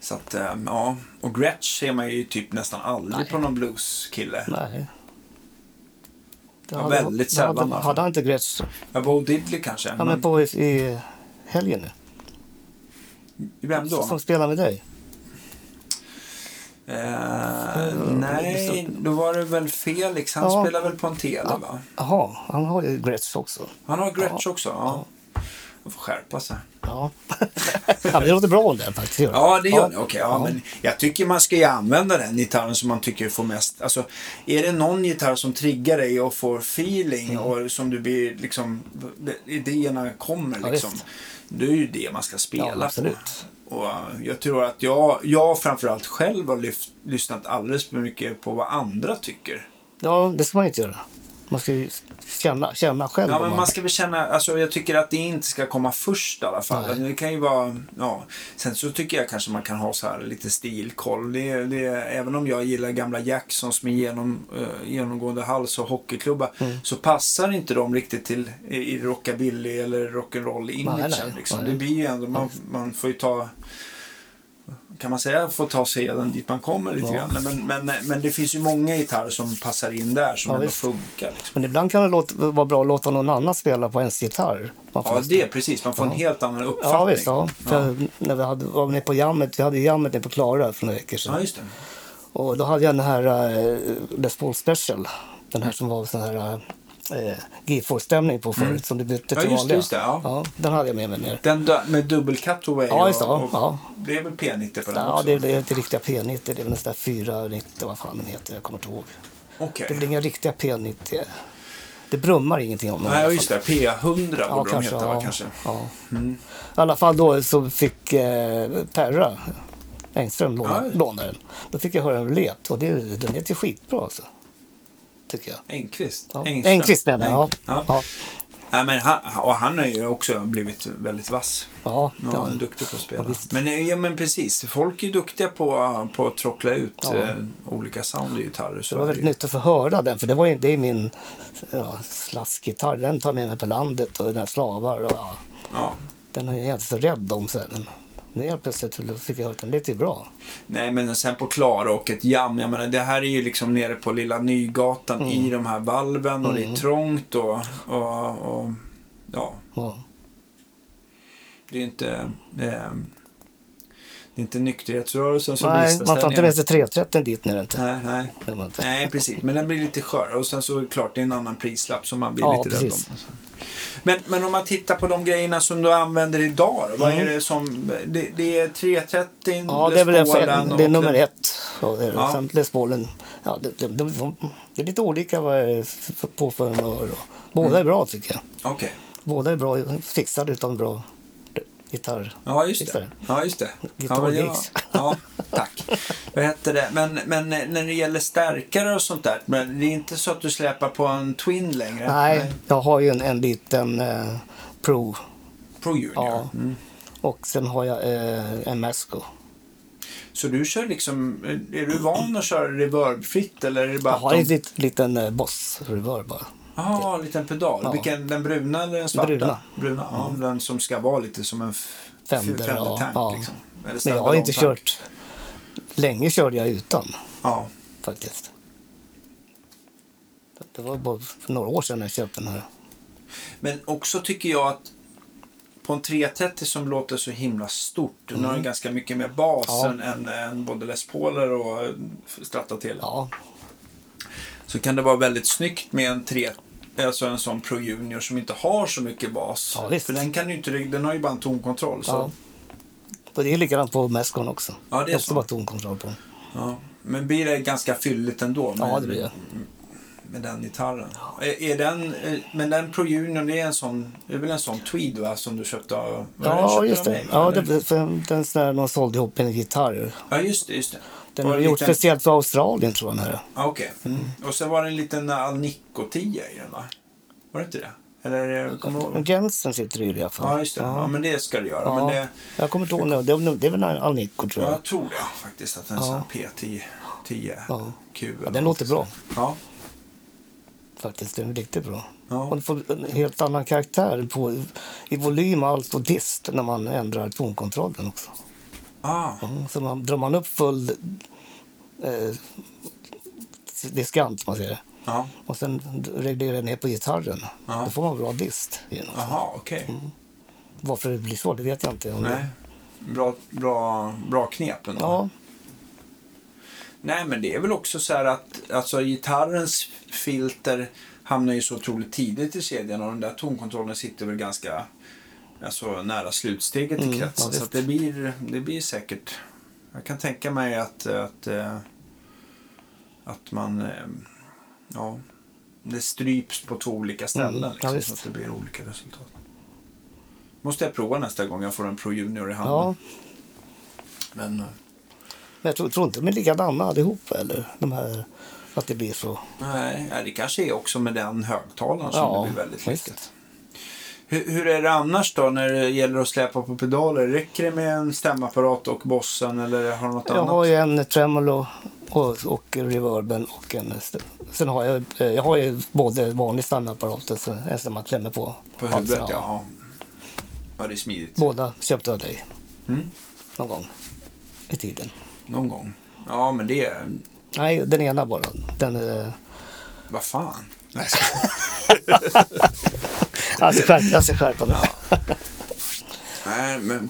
S1: Så att, eh, ja. Och Gretsch ser man ju typ nästan aldrig på någon blueskille.
S2: Nej. Det
S1: Ja, väldigt
S2: det
S1: sällan,
S2: Hade,
S1: alltså.
S2: hade han inte Gretsch
S1: Ja, Bo Diddley kanske.
S2: ja, men
S1: men
S2: på i, i helgen nu?
S1: vem då?
S2: Som spelar med dig?
S1: Eh, nej, då var det väl Felix. Han
S2: Mm. Ja.
S1: spelar väl på en tele, va?
S2: Jaha, han har ju Gretsch också.
S1: Han har Gretsch också. Ja. Han får skärpa sig.
S2: Ja. ja, men det låter bra om den faktiskt. gör
S1: Ja, det gör det. Okej, ja,
S2: Ja.
S1: men jag tycker man ska ju använda den gitarren som man tycker får mest. Alltså, är det någon gitarr som triggar dig och får feeling
S2: Mm.
S1: och som du blir liksom, idéerna kommer
S2: Ja,
S1: liksom.
S2: visst.
S1: det är ju det man ska spela
S2: Ja, absolut.
S1: på. Och eh, jag tror att jag, jag framförallt själv har lyft, lyssnat alldeles för mycket på vad andra tycker.
S2: Ja, det ska man inte göra. Man ska ju känna, känna själv.
S1: Ja,
S2: om
S1: men man ska väl känna, alltså jag tycker att det inte ska komma först i alla fall.
S2: Nej.
S1: Det kan ju vara, ja. Sen så tycker jag kanske man kan ha så här lite stilkoll. Det, det, även om jag gillar gamla Jacksons med genom, eh, genomgående hals och hockeyklubba
S2: Mm.
S1: så passar inte de riktigt till i, i rockabilly eller
S2: Nej,
S1: rock'n'roll-imagen.
S2: nej,
S1: Liksom.
S2: nej.
S1: Det blir ju ändå, man, man får ju ta kan man säga få ta seden dit man kommer lite
S2: Ja.
S1: grann. Men, men, men det finns ju många gitarrer som passar in där som
S2: Ja,
S1: ändå
S2: visst.
S1: funkar. Liksom.
S2: Men ibland kan det låta, vara bra att låta någon annan spela på ens gitarr. Man får
S1: Ja,
S2: nästan-
S1: det är precis. Man får en helt annan uppfattning.
S2: Ja, visst. Ja.
S1: ja.
S2: För När vi hade, var nere på jammet, vi hade jammet nere på Klara för några veckor sedan.
S1: Ja, just det.
S2: Och då hade jag den här eh, Les Paul Special. Den här som var sån här eh, G4-stämning på förut som du bytte till
S1: Mm. Ja, just det,
S2: vanliga.
S1: just det, ja.
S2: den hade jag med mig ner.
S1: Den dö- med dubbel cutaway.
S2: Ja, just det,
S1: och,
S2: ja,
S1: och,
S2: ja.
S1: Det är väl P90 på den
S2: Ja,
S1: också?
S2: det, det är inte riktiga P90, det är väl nästan 490, vad fan den heter, jag kommer inte ihåg.
S1: Okej.
S2: Det blir inga riktiga P90. Det brummar ingenting om dem. i alla
S1: Nej,
S2: fall.
S1: just det. P100 borde de heta, va? Kanske. Mm.
S2: Ja. I alla fall då så fick eh, Perra Engström låna,
S1: Ja.
S2: låna den. Då fick jag höra den let och det, den heter ju skitbra alltså. Tycker jag.
S1: Engqvist?
S2: Ja.
S1: Engström.
S2: Engqvist menar jag.
S1: Ja.
S2: Ja.
S1: Nej, men han, och han har ju också blivit väldigt vass.
S2: Ja,
S1: Ja,
S2: ja.
S1: han är duktig på att spela.
S2: Ja, visst.
S1: men, eh, ja, men precis, folk är ju duktiga på, eh, på att trockla ut
S2: Ja.
S1: eh, olika sound i gitarrer. Så
S2: Det var
S1: är
S2: väldigt
S1: ju.
S2: nyttigt att få höra den, för det, var ju, det är min ja, slaskgitarr. Den tar jag med mig på landet och den här slavar. Och, ja.
S1: Ja.
S2: Den är jag inte så rädd om sen. Nu helt plötsligt fick jag höra att den lät ju bra.
S1: Nej, men sen på Klara och ett jam. Jag menar, det här är ju liksom nere på Lilla Nygatan
S2: Mm.
S1: i de här valven och det är trångt och, och, och ja,
S2: Ja.
S1: det är inte, eh, det är inte nykterhetsrörelsen som
S2: Nej,
S1: visar
S2: man tar inte
S1: ställningen.
S2: med sig 330 dit nu inte.
S1: Nej, nej.
S2: Det gör man inte.
S1: Nej, precis. Men den blir lite skör. Och sen så är det klart, det är en annan prislapp som man blir
S2: Ja,
S1: lite rädd
S2: precis.
S1: om. Men, men om man tittar på de grejerna som du använder idag då, Vad
S2: Mm.
S1: är det som... Det, det är 330,
S2: Ja, det är väl
S1: Les Paulen
S2: en, det är
S1: och-
S2: nummer ett. Och det,
S1: Ja.
S2: ja. Sen Les Paulen. Ja, det, det, de- det är lite olika vad jag är f- på för en och- och- Båda
S1: Mm.
S2: är bra tycker jag.
S1: Okej.
S2: Båda är bra fixade utan bra gitarr.
S1: Ja, just det.
S2: Fixar
S1: Ja, just det.
S2: Guitar
S1: Ja, men jag-
S2: gigs.
S1: ja, tack. Vad hette det? Men, men när det gäller stärkare och sånt där. Men det är inte så att du släpar på en Twin längre?
S2: Nej, jag har ju en, en liten eh, Pro
S1: Pro Junior?
S2: Ja.
S1: Mm.
S2: och sen har jag eh, en Masco.
S1: Så du kör liksom... Är du van att köra reverbfritt eller är det bara
S2: Jag
S1: att
S2: har
S1: de-
S2: en lit, liten eh, Boss-reverb bara.
S1: Jaha, en liten pedal.
S2: Ja.
S1: Vilken, den bruna eller den svarta?
S2: Bruna. Mm.
S1: bruna ja, Den som ska vara lite som en f-
S2: Fender,
S1: f- Fender-tank.
S2: ja, ja.
S1: liksom. Eller
S2: Men jag har inte
S1: standard-tank.
S2: kört... Länge körde jag utan
S1: Ja.
S2: faktiskt. Det var bara för några år sedan jag köpte den här.
S1: Men också tycker jag att på en 330 som låter så himla stort. Nu har den ganska mycket mer bas
S2: Mm. Ja.
S1: än, än, än både Les Pauler och eh, Strata till.
S2: Ja,
S1: Så kan det vara väldigt snyggt med en 3 Alltså en sån Pro Junior som inte har så mycket bas.
S2: Ja, visst.
S1: För den, kan ju inte, den har ju bara en tonkontroll. Så.
S2: ja. Och det är likadant på Mescon också.
S1: Ja, det är
S2: jag har också
S1: så.
S2: bara tonkontroll på den.
S1: Ja, men blir det ganska fylligt ändå med,
S2: Ja, det blir det.
S1: med den gitarren? Är, är den, eh, men den Pro Junior, det är, en sån, det är väl en sån tweed va, som du köpte av var den köpte
S2: Ja,
S1: du
S2: just
S1: av
S2: det.
S1: mig,
S2: Ja,
S1: eller?
S2: det för den sån där man sålde ihop en gitarr.
S1: ja, just det. Just det.
S2: Den
S1: Var
S2: har
S1: det en
S2: gjort
S1: liten-
S2: speciellt för Australien tror jag. Den här.
S1: Ah, Okej. Mm. Och sen var det en liten Alnico 10 i den va? Var det inte det? Eller eh, kommer du
S2: Men
S1: ihåg?
S2: Jensen sitter i det i alla fall.
S1: Ja, just det. Ja. men det ska du göra.
S2: Ja,
S1: Men det,
S2: Jag kommer inte ihåg nu. Det, det är väl en Alnico tror
S1: ja,
S2: jag.
S1: jag tror det faktiskt att en sån P10 10
S2: Ja.
S1: Q.
S2: Ja, den låter bra
S1: Ja.
S2: faktiskt. Den är riktigt bra.
S1: Ja.
S2: Och det får en helt annan karaktär på, i volym, allt och dist när man ändrar tonkontrollen också.
S1: Ah.
S2: Mm, Så man, drar man upp full eh, diskant, som man säger,
S1: Ja.
S2: och sen reglerar ner på gitarren,
S1: Ja.
S2: då får man bra dist. Genom.
S1: Jaha, okej.
S2: Mm. Varför det blir så, det vet jag inte. Om
S1: Nej.
S2: det,
S1: Bra, bra, bra knep ändå.
S2: ja,
S1: Nej, men det är väl också så här att alltså, gitarrens filter hamnar ju så otroligt tidigt i kedjan och den där tonkontrollen sitter väl ganska alltså, nära slutsteget i
S2: Mm,
S1: kretsen.
S2: ja,
S1: så
S2: visst.
S1: att det, blir, det blir säkert... Jag kan tänka mig att, att, eh, att man... eh, Ja, det stryps på två olika ställen
S2: Mm,
S1: liksom,
S2: ja,
S1: så
S2: visst.
S1: att det blir olika resultat. Måste jag prova nästa gång jag får en Pro Junior i handen.
S2: ja.
S1: Men, eh,
S2: Men jag tror, tror inte de är likadana allihopa, eller? De här, att det blir så.
S1: Nej, ja, det kanske är också med den högtalaren som
S2: Ja,
S1: det blir väldigt
S2: visst.
S1: likt. Hur, hur är det annars då när det gäller att släpa på pedaler? Räcker det med en stämapparat och bossen eller har du något
S2: Jag
S1: annat?
S2: har ju en tremolo och, och reverben och en... st- Sen har jag, eh, jag har ju både vanlig standardapparat och sen en som man klämmer på.
S1: På huvudet,
S2: halsen,
S1: ja. ja. Ja, det är smidigt.
S2: Båda köpte jag av dig
S1: Mm.
S2: någon gång i tiden.
S1: Någon gång. Ja, men det... är-
S2: Nej, den ena bara. Den... eh,
S1: Vad fan.
S2: Jag ska skärpa, jag ska skärpa mig.
S1: Nej, men...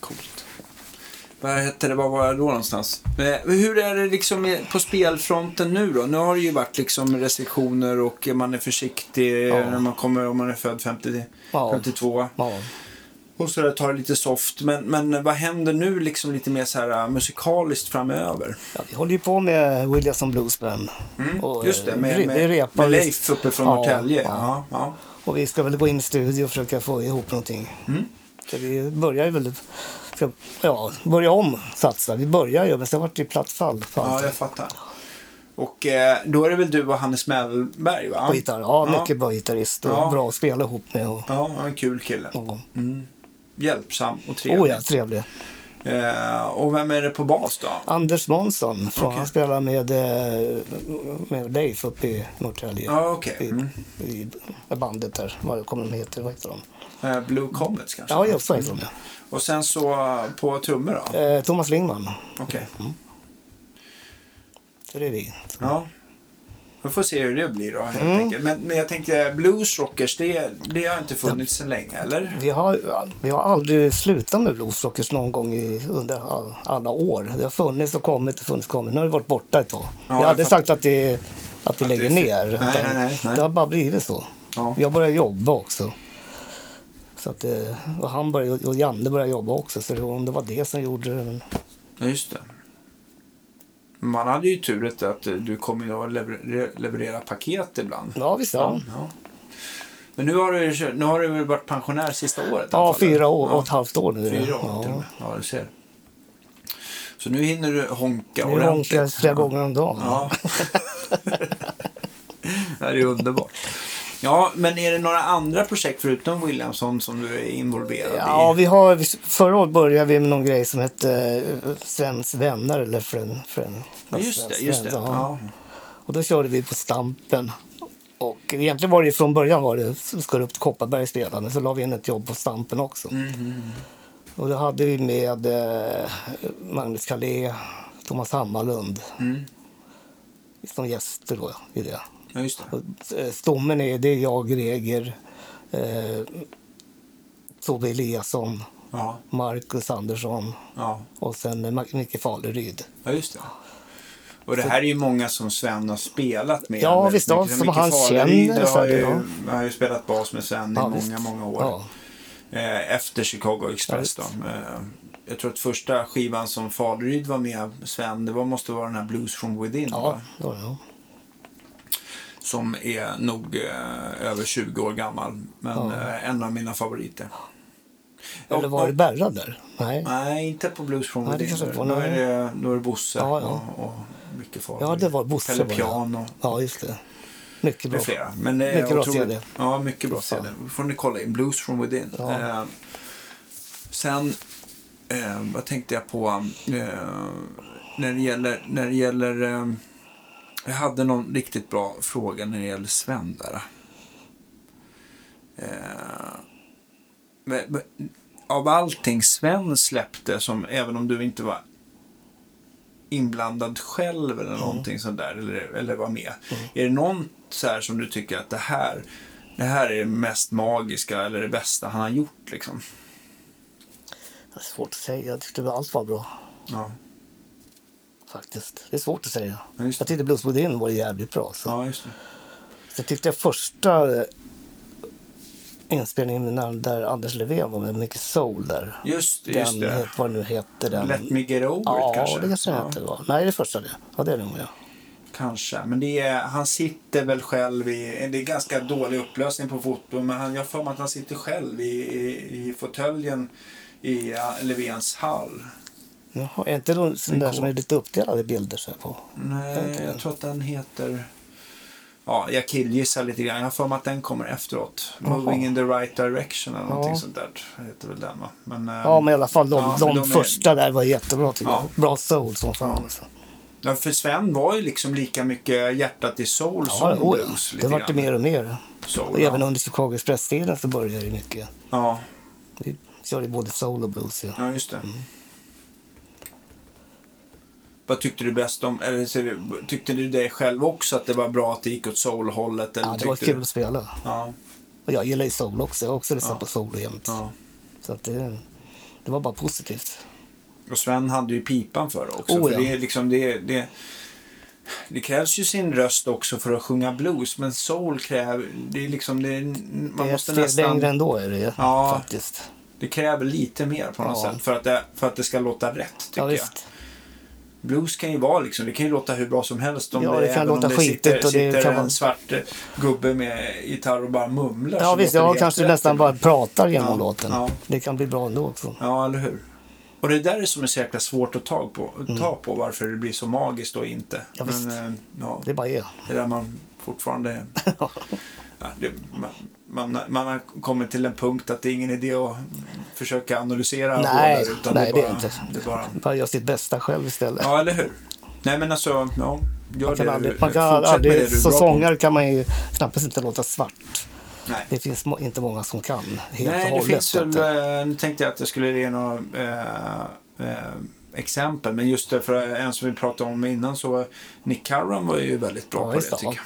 S1: Coolt. Vad hette det? Var var jag då någonstans? Eh, Hur är det liksom i- på spelfronten nu då? Nu har det ju varit liksom restriktioner och man är försiktig
S2: Ja.
S1: när man kommer om man är född 50,
S2: Ja.
S1: 52.
S2: Ja.
S1: Och så där tar det lite soft. Men, men vad händer nu liksom lite mer så här eh, musikaliskt framöver?
S2: Ja, vi håller ju på med Williamson Blues Band. Och,
S1: Mm, Just det,
S2: eh,
S1: med,
S2: vi- vi
S1: med,
S2: repar
S1: med
S2: just-
S1: Leif uppe från
S2: Ja,
S1: Norrtälje.
S2: ja.
S1: Ja, ja.
S2: Och vi ska väl gå in i studio och försöka få ihop någonting.
S1: Mm.
S2: Så vi börjar ju väl... Ska, ja, börja om satsa. Vi börjar ju, men sen vart det ju platt fall. på
S1: ja,
S2: allt.
S1: jag fattar. Och eh, då är det väl du och Hannes Mävelberg va?
S2: på gitarr. Ja,
S1: Ja.
S2: mycket bra gitarrist och
S1: Ja.
S2: bra att spela ihop med. Och,
S1: Ja, han är en kul kille. Mm.
S2: och,
S1: Hjälpsam och trevlig.
S2: oh ja, trevlig.
S1: eh, och vem är det på bas då?
S2: Anders Månsson, från,
S1: Okej.
S2: han spelar med, eh, med Leif uppe i Norrtälje.
S1: Ja, okej.
S2: I,
S1: Mm.
S2: i bandet där, vad kommer de heter, vad heter de?
S1: Eh, Blue Comets kanske?
S2: Ja, just det, heter de.
S1: Och sen så eh, på trummor då?
S2: Eh, Thomas Lingman,
S1: Okej.
S2: så det är vi.
S1: Ja. Vi får se hur det blir då helt
S2: Mm.
S1: enkelt. Men, men jag tänkte bluesrockers, det, det har inte funnits så länge eller?
S2: Vi har, vi har aldrig slutat med bluesrockers någon gång i, under all, alla år. Det har funnits och kommit och funnits och kommit. Nu har det varit borta ett tag. jag
S1: jag
S2: har aldrig
S1: fattar.
S2: sagt att, det, att vi
S1: Att det
S2: lägger
S1: är-
S2: ner.
S1: Nej,
S2: utan
S1: nej, nej, nej.
S2: Det har bara blivit så.
S1: Ja.
S2: Jag började jobba också. Så att, eh, och han började, och Janne började jobba också. Så det var- om det var det som gjorde det. men-
S1: Ja, just det. Man hade ju turet att eh, du kom ju att lever- leverera paket ibland.
S2: Ja, visst. Ja,
S1: Ja. Men nu har du, ju- nu har du väl varit pensionär sista året?
S2: ja
S1: antagligen.
S2: fyra år, och
S1: Ja.
S2: ett halvt år nu.
S1: Fyra år
S2: ja.
S1: till och med. Ja, du ser. Så nu hinner du honka
S2: Nu honkar jag flera gånger om dagen.
S1: Ja. det här är underbart. Ja, men är det några andra projekt förutom Williamson som du är involverad
S2: Ja,
S1: i?
S2: vi har, vi- förra året började vi med någon grej som hette eh, Svens vänner eller Friend, friend,
S1: Ja, just det.
S2: Svens
S1: Just det.
S2: Friends,
S1: Ja.
S2: Och då körde vi på Stampen. Och egentligen var det från början var det så ska det upp till Kopparberg och spela, men så la vi in ett jobb på Stampen också.
S1: Mm-hmm.
S2: Och då hade vi med eh, Magnus Calé, Thomas Hammarlund som gäster då i det.
S1: mm. ja, just det.
S2: Och, eh, Stommen är, det är jag, Greger, eh, Tove Eliasson,
S1: Ja,
S2: Marcus Andersson
S1: ja.
S2: och sen eh, Mac- Micke Faleryd.
S1: ja, just det. Och det här är ju många som Sven har spelat med.
S2: Ja,
S1: väldigt
S2: visst, ja,
S1: mycket.
S2: som
S1: Micke
S2: han
S1: Faleryd
S2: känner, så
S1: har
S2: här,
S1: ju,
S2: ja.
S1: har ju spelat bas med Sven i
S2: Ja,
S1: många,
S2: visst.
S1: många år.
S2: Ja.
S1: Eh, efter Chicago Express.
S2: Ja,
S1: då. Eh, jag tror att första skivan som Faleryd var med Sven, det var, måste vara den här Blues from Within.
S2: Ja,
S1: Va?
S2: det var det, ja.
S1: Som är nog eh, över 20 år gammal. Men eh, en av mina favoriter.
S2: Eller var det Berra där? Nej.
S1: Nej, inte på Blues from
S2: Nej, det
S1: Within.
S2: kanske inte var
S1: då,
S2: någon-
S1: är det, då är det Bosse
S2: Ja, ja.
S1: och, och Micke Faleryd.
S2: Ja, det var Bosse.
S1: Pelle
S2: var det.
S1: Piano.
S2: Ja, just det. Mycket bra.
S1: Med flera. Men det är
S2: Mycket bra
S1: otroligt-
S2: CD.
S1: Ja, mycket bra
S2: Fan.
S1: CD. får ni kolla in. Blues from within.
S2: Ja.
S1: Eh, sen, eh, vad tänkte jag på? Eh, när det gäller... När det gäller eh, jag hade någon riktigt bra fråga när det gäller Sven där. Eh, men, men, av allting Sven släppte, som även om du inte var inblandad själv eller någonting sånt där eller, eller var med. Är det något så här som du tycker att det här, det här är det mest magiska eller det bästa han har gjort liksom?
S2: Det är svårt att säga. Jag tyckte väl allt var bra
S1: Ja,
S2: faktiskt. Det är svårt att säga.
S1: Ja, just det.
S2: Jag tyckte Blues Within var jävligt bra. Så.
S1: ja just det.
S2: så jag tyckte jag första eh, inspelningen när, där Anders Levén var med, mycket soul där.
S1: Just det,
S2: den,
S1: just det.
S2: het- Vad nu hette den.
S1: Let me get over
S2: ja,
S1: it kanske?
S2: det kanske den
S1: Ja,
S2: hette. va? Nej, det är första det. Ja, det är det nog ja.
S1: Kanske, men det är, han sitter väl själv i, det är ganska dålig upplösning på foton, men han, jag har för mig att han sitter själv i, i, i fåtöljen i ja, Levens hall.
S2: Jaha, är inte de sån där som är lite uppdelade bilder så här på?
S1: Nej, jag tror att den heter... Ja, jag killgissar lite grann. Jag har för mig att den kommer efteråt. Moving in the right direction eller någonting
S2: Ja.
S1: sånt där. Heter väl den va? Men, eh,
S2: Ja, men i alla fall de,
S1: Ja, men
S2: de,
S1: de är-
S2: första där var jättebra tycker
S1: Ja.
S2: jag. Bra soul som fan. Alltså.
S1: ja, För Sven var ju liksom lika mycket hjärtat i soul som
S2: Ja, oj,
S1: blues.
S2: det
S1: lite
S2: vart det
S1: grann.
S2: mer och mer.
S1: Soul,
S2: Och
S1: ja.
S2: även under Chicago Express-tiden så började det mycket.
S1: Ja,
S2: Vi körde både soul och blues. Ja.
S1: ja just det.
S2: Mm.
S1: Vad tyckte du bäst om, eller så- tyckte du dig själv också att det var bra att det gick åt soulhållet? Eller
S2: Ja, det var
S1: tyckte
S2: kul att spela.
S1: Du? Ja,
S2: Och jag gillar ju soul också. Jag har också lyssnat på soul jämt.
S1: ja.
S2: Så att det, det var bara positivt.
S1: Och Sven hade ju pipan för det också.
S2: Oh,
S1: för
S2: ja.
S1: det, är liksom, det, det, det krävs ju sin röst också för att sjunga blues. Men soul kräver... Det är liksom... Det, är- man
S2: det är ett
S1: måste
S2: steg
S1: nästan...
S2: längre ändå är det ju
S1: Ja.
S2: faktiskt.
S1: Det kräver lite mer på något
S2: Ja.
S1: sätt. För att, det, för att det ska låta rätt,
S2: Ja,
S1: tycker jag.
S2: visst.
S1: Blues kan ju vara liksom... Det kan ju låta hur bra som helst. Om
S2: Ja, det kan
S1: även om
S2: låta
S1: det sitter,
S2: skitigt och det
S1: sitter
S2: kan
S1: en
S2: vara-
S1: svart eh, gubbe med gitarr och bara mumlar.
S2: Ja,
S1: så
S2: visst.
S1: låter det
S2: Jag
S1: helt
S2: kanske
S1: rätt
S2: nästan
S1: ibland.
S2: bara pratar genom
S1: Ja,
S2: låten.
S1: ja.
S2: Det kan bli bra ändå också.
S1: Ja, eller hur? Och det där är som är så jäkla svårt att ta på, ta på varför det blir så magiskt och inte.
S2: Mm. Ja, visst.
S1: Men, eh, ja,
S2: Det är bara är.
S1: det där man fortfarande... ja, det, man, man, man har kommit till en punkt att det är ingen idé att försöka analysera
S2: Nej,
S1: roller, utan
S2: nej,
S1: det är
S2: det är
S1: bara...
S2: inte.
S1: Det är bara
S2: Bara gör sitt bästa själv istället.
S1: ja, eller hur? Nej, men alltså... Ja, gör
S2: man kan
S1: det,
S2: aldrig,
S1: du-
S2: man kan
S1: fortsätt med det
S2: aldrig,
S1: du är bra
S2: som
S1: på.
S2: sångare kan man ju knappast inte låta svart.
S1: Nej.
S2: Det finns må- inte många som kan helt och
S1: Nej, det
S2: hållet.
S1: finns
S2: så
S1: väl,
S2: att-
S1: eh, nu tänkte jag att jag skulle ge några eh, eh, exempel, men just det, för en som vi pratade om innan så var Nick Carran var ju väldigt bra
S2: Ja,
S1: på det
S2: visst,
S1: tycker
S2: ja.
S1: jag.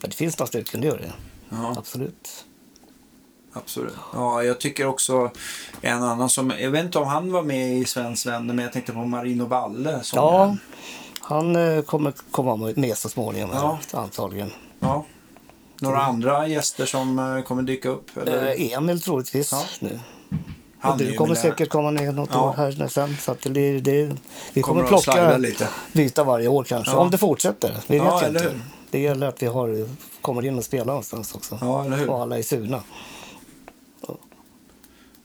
S2: Men det finns några stycken, det gör det.
S1: Ja,
S2: Absolut.
S1: absolut. Ja, jag tycker också en annan som, jag vet inte om han var med i Svensk vänner, men jag tänkte på Marino Valle. Som,
S2: Ja, han eh, kommer komma med så småningom,
S1: Ja.
S2: antagligen.
S1: Ja. Några andra gäster som eh, kommer dyka upp? Eller?
S2: Eh, Emil troligtvis
S1: Ja.
S2: nu.
S1: Han
S2: och
S1: är
S2: du
S1: ju
S2: kommer
S1: med där.
S2: säkert komma ner något
S1: Ja.
S2: år här nu sen. Så att det, blir- det, vi
S1: Kommer
S2: kommer,
S1: att slarva
S2: plocka
S1: lite.
S2: byta varje år kanske.
S1: Ja.
S2: Om det fortsätter. Vi
S1: Ja,
S2: vet ju
S1: eller
S2: inte.
S1: hur?
S2: Det gäller att vi har, kommer in och spelar någonstans också.
S1: Ja, eller hur?
S2: Och alla är sugna.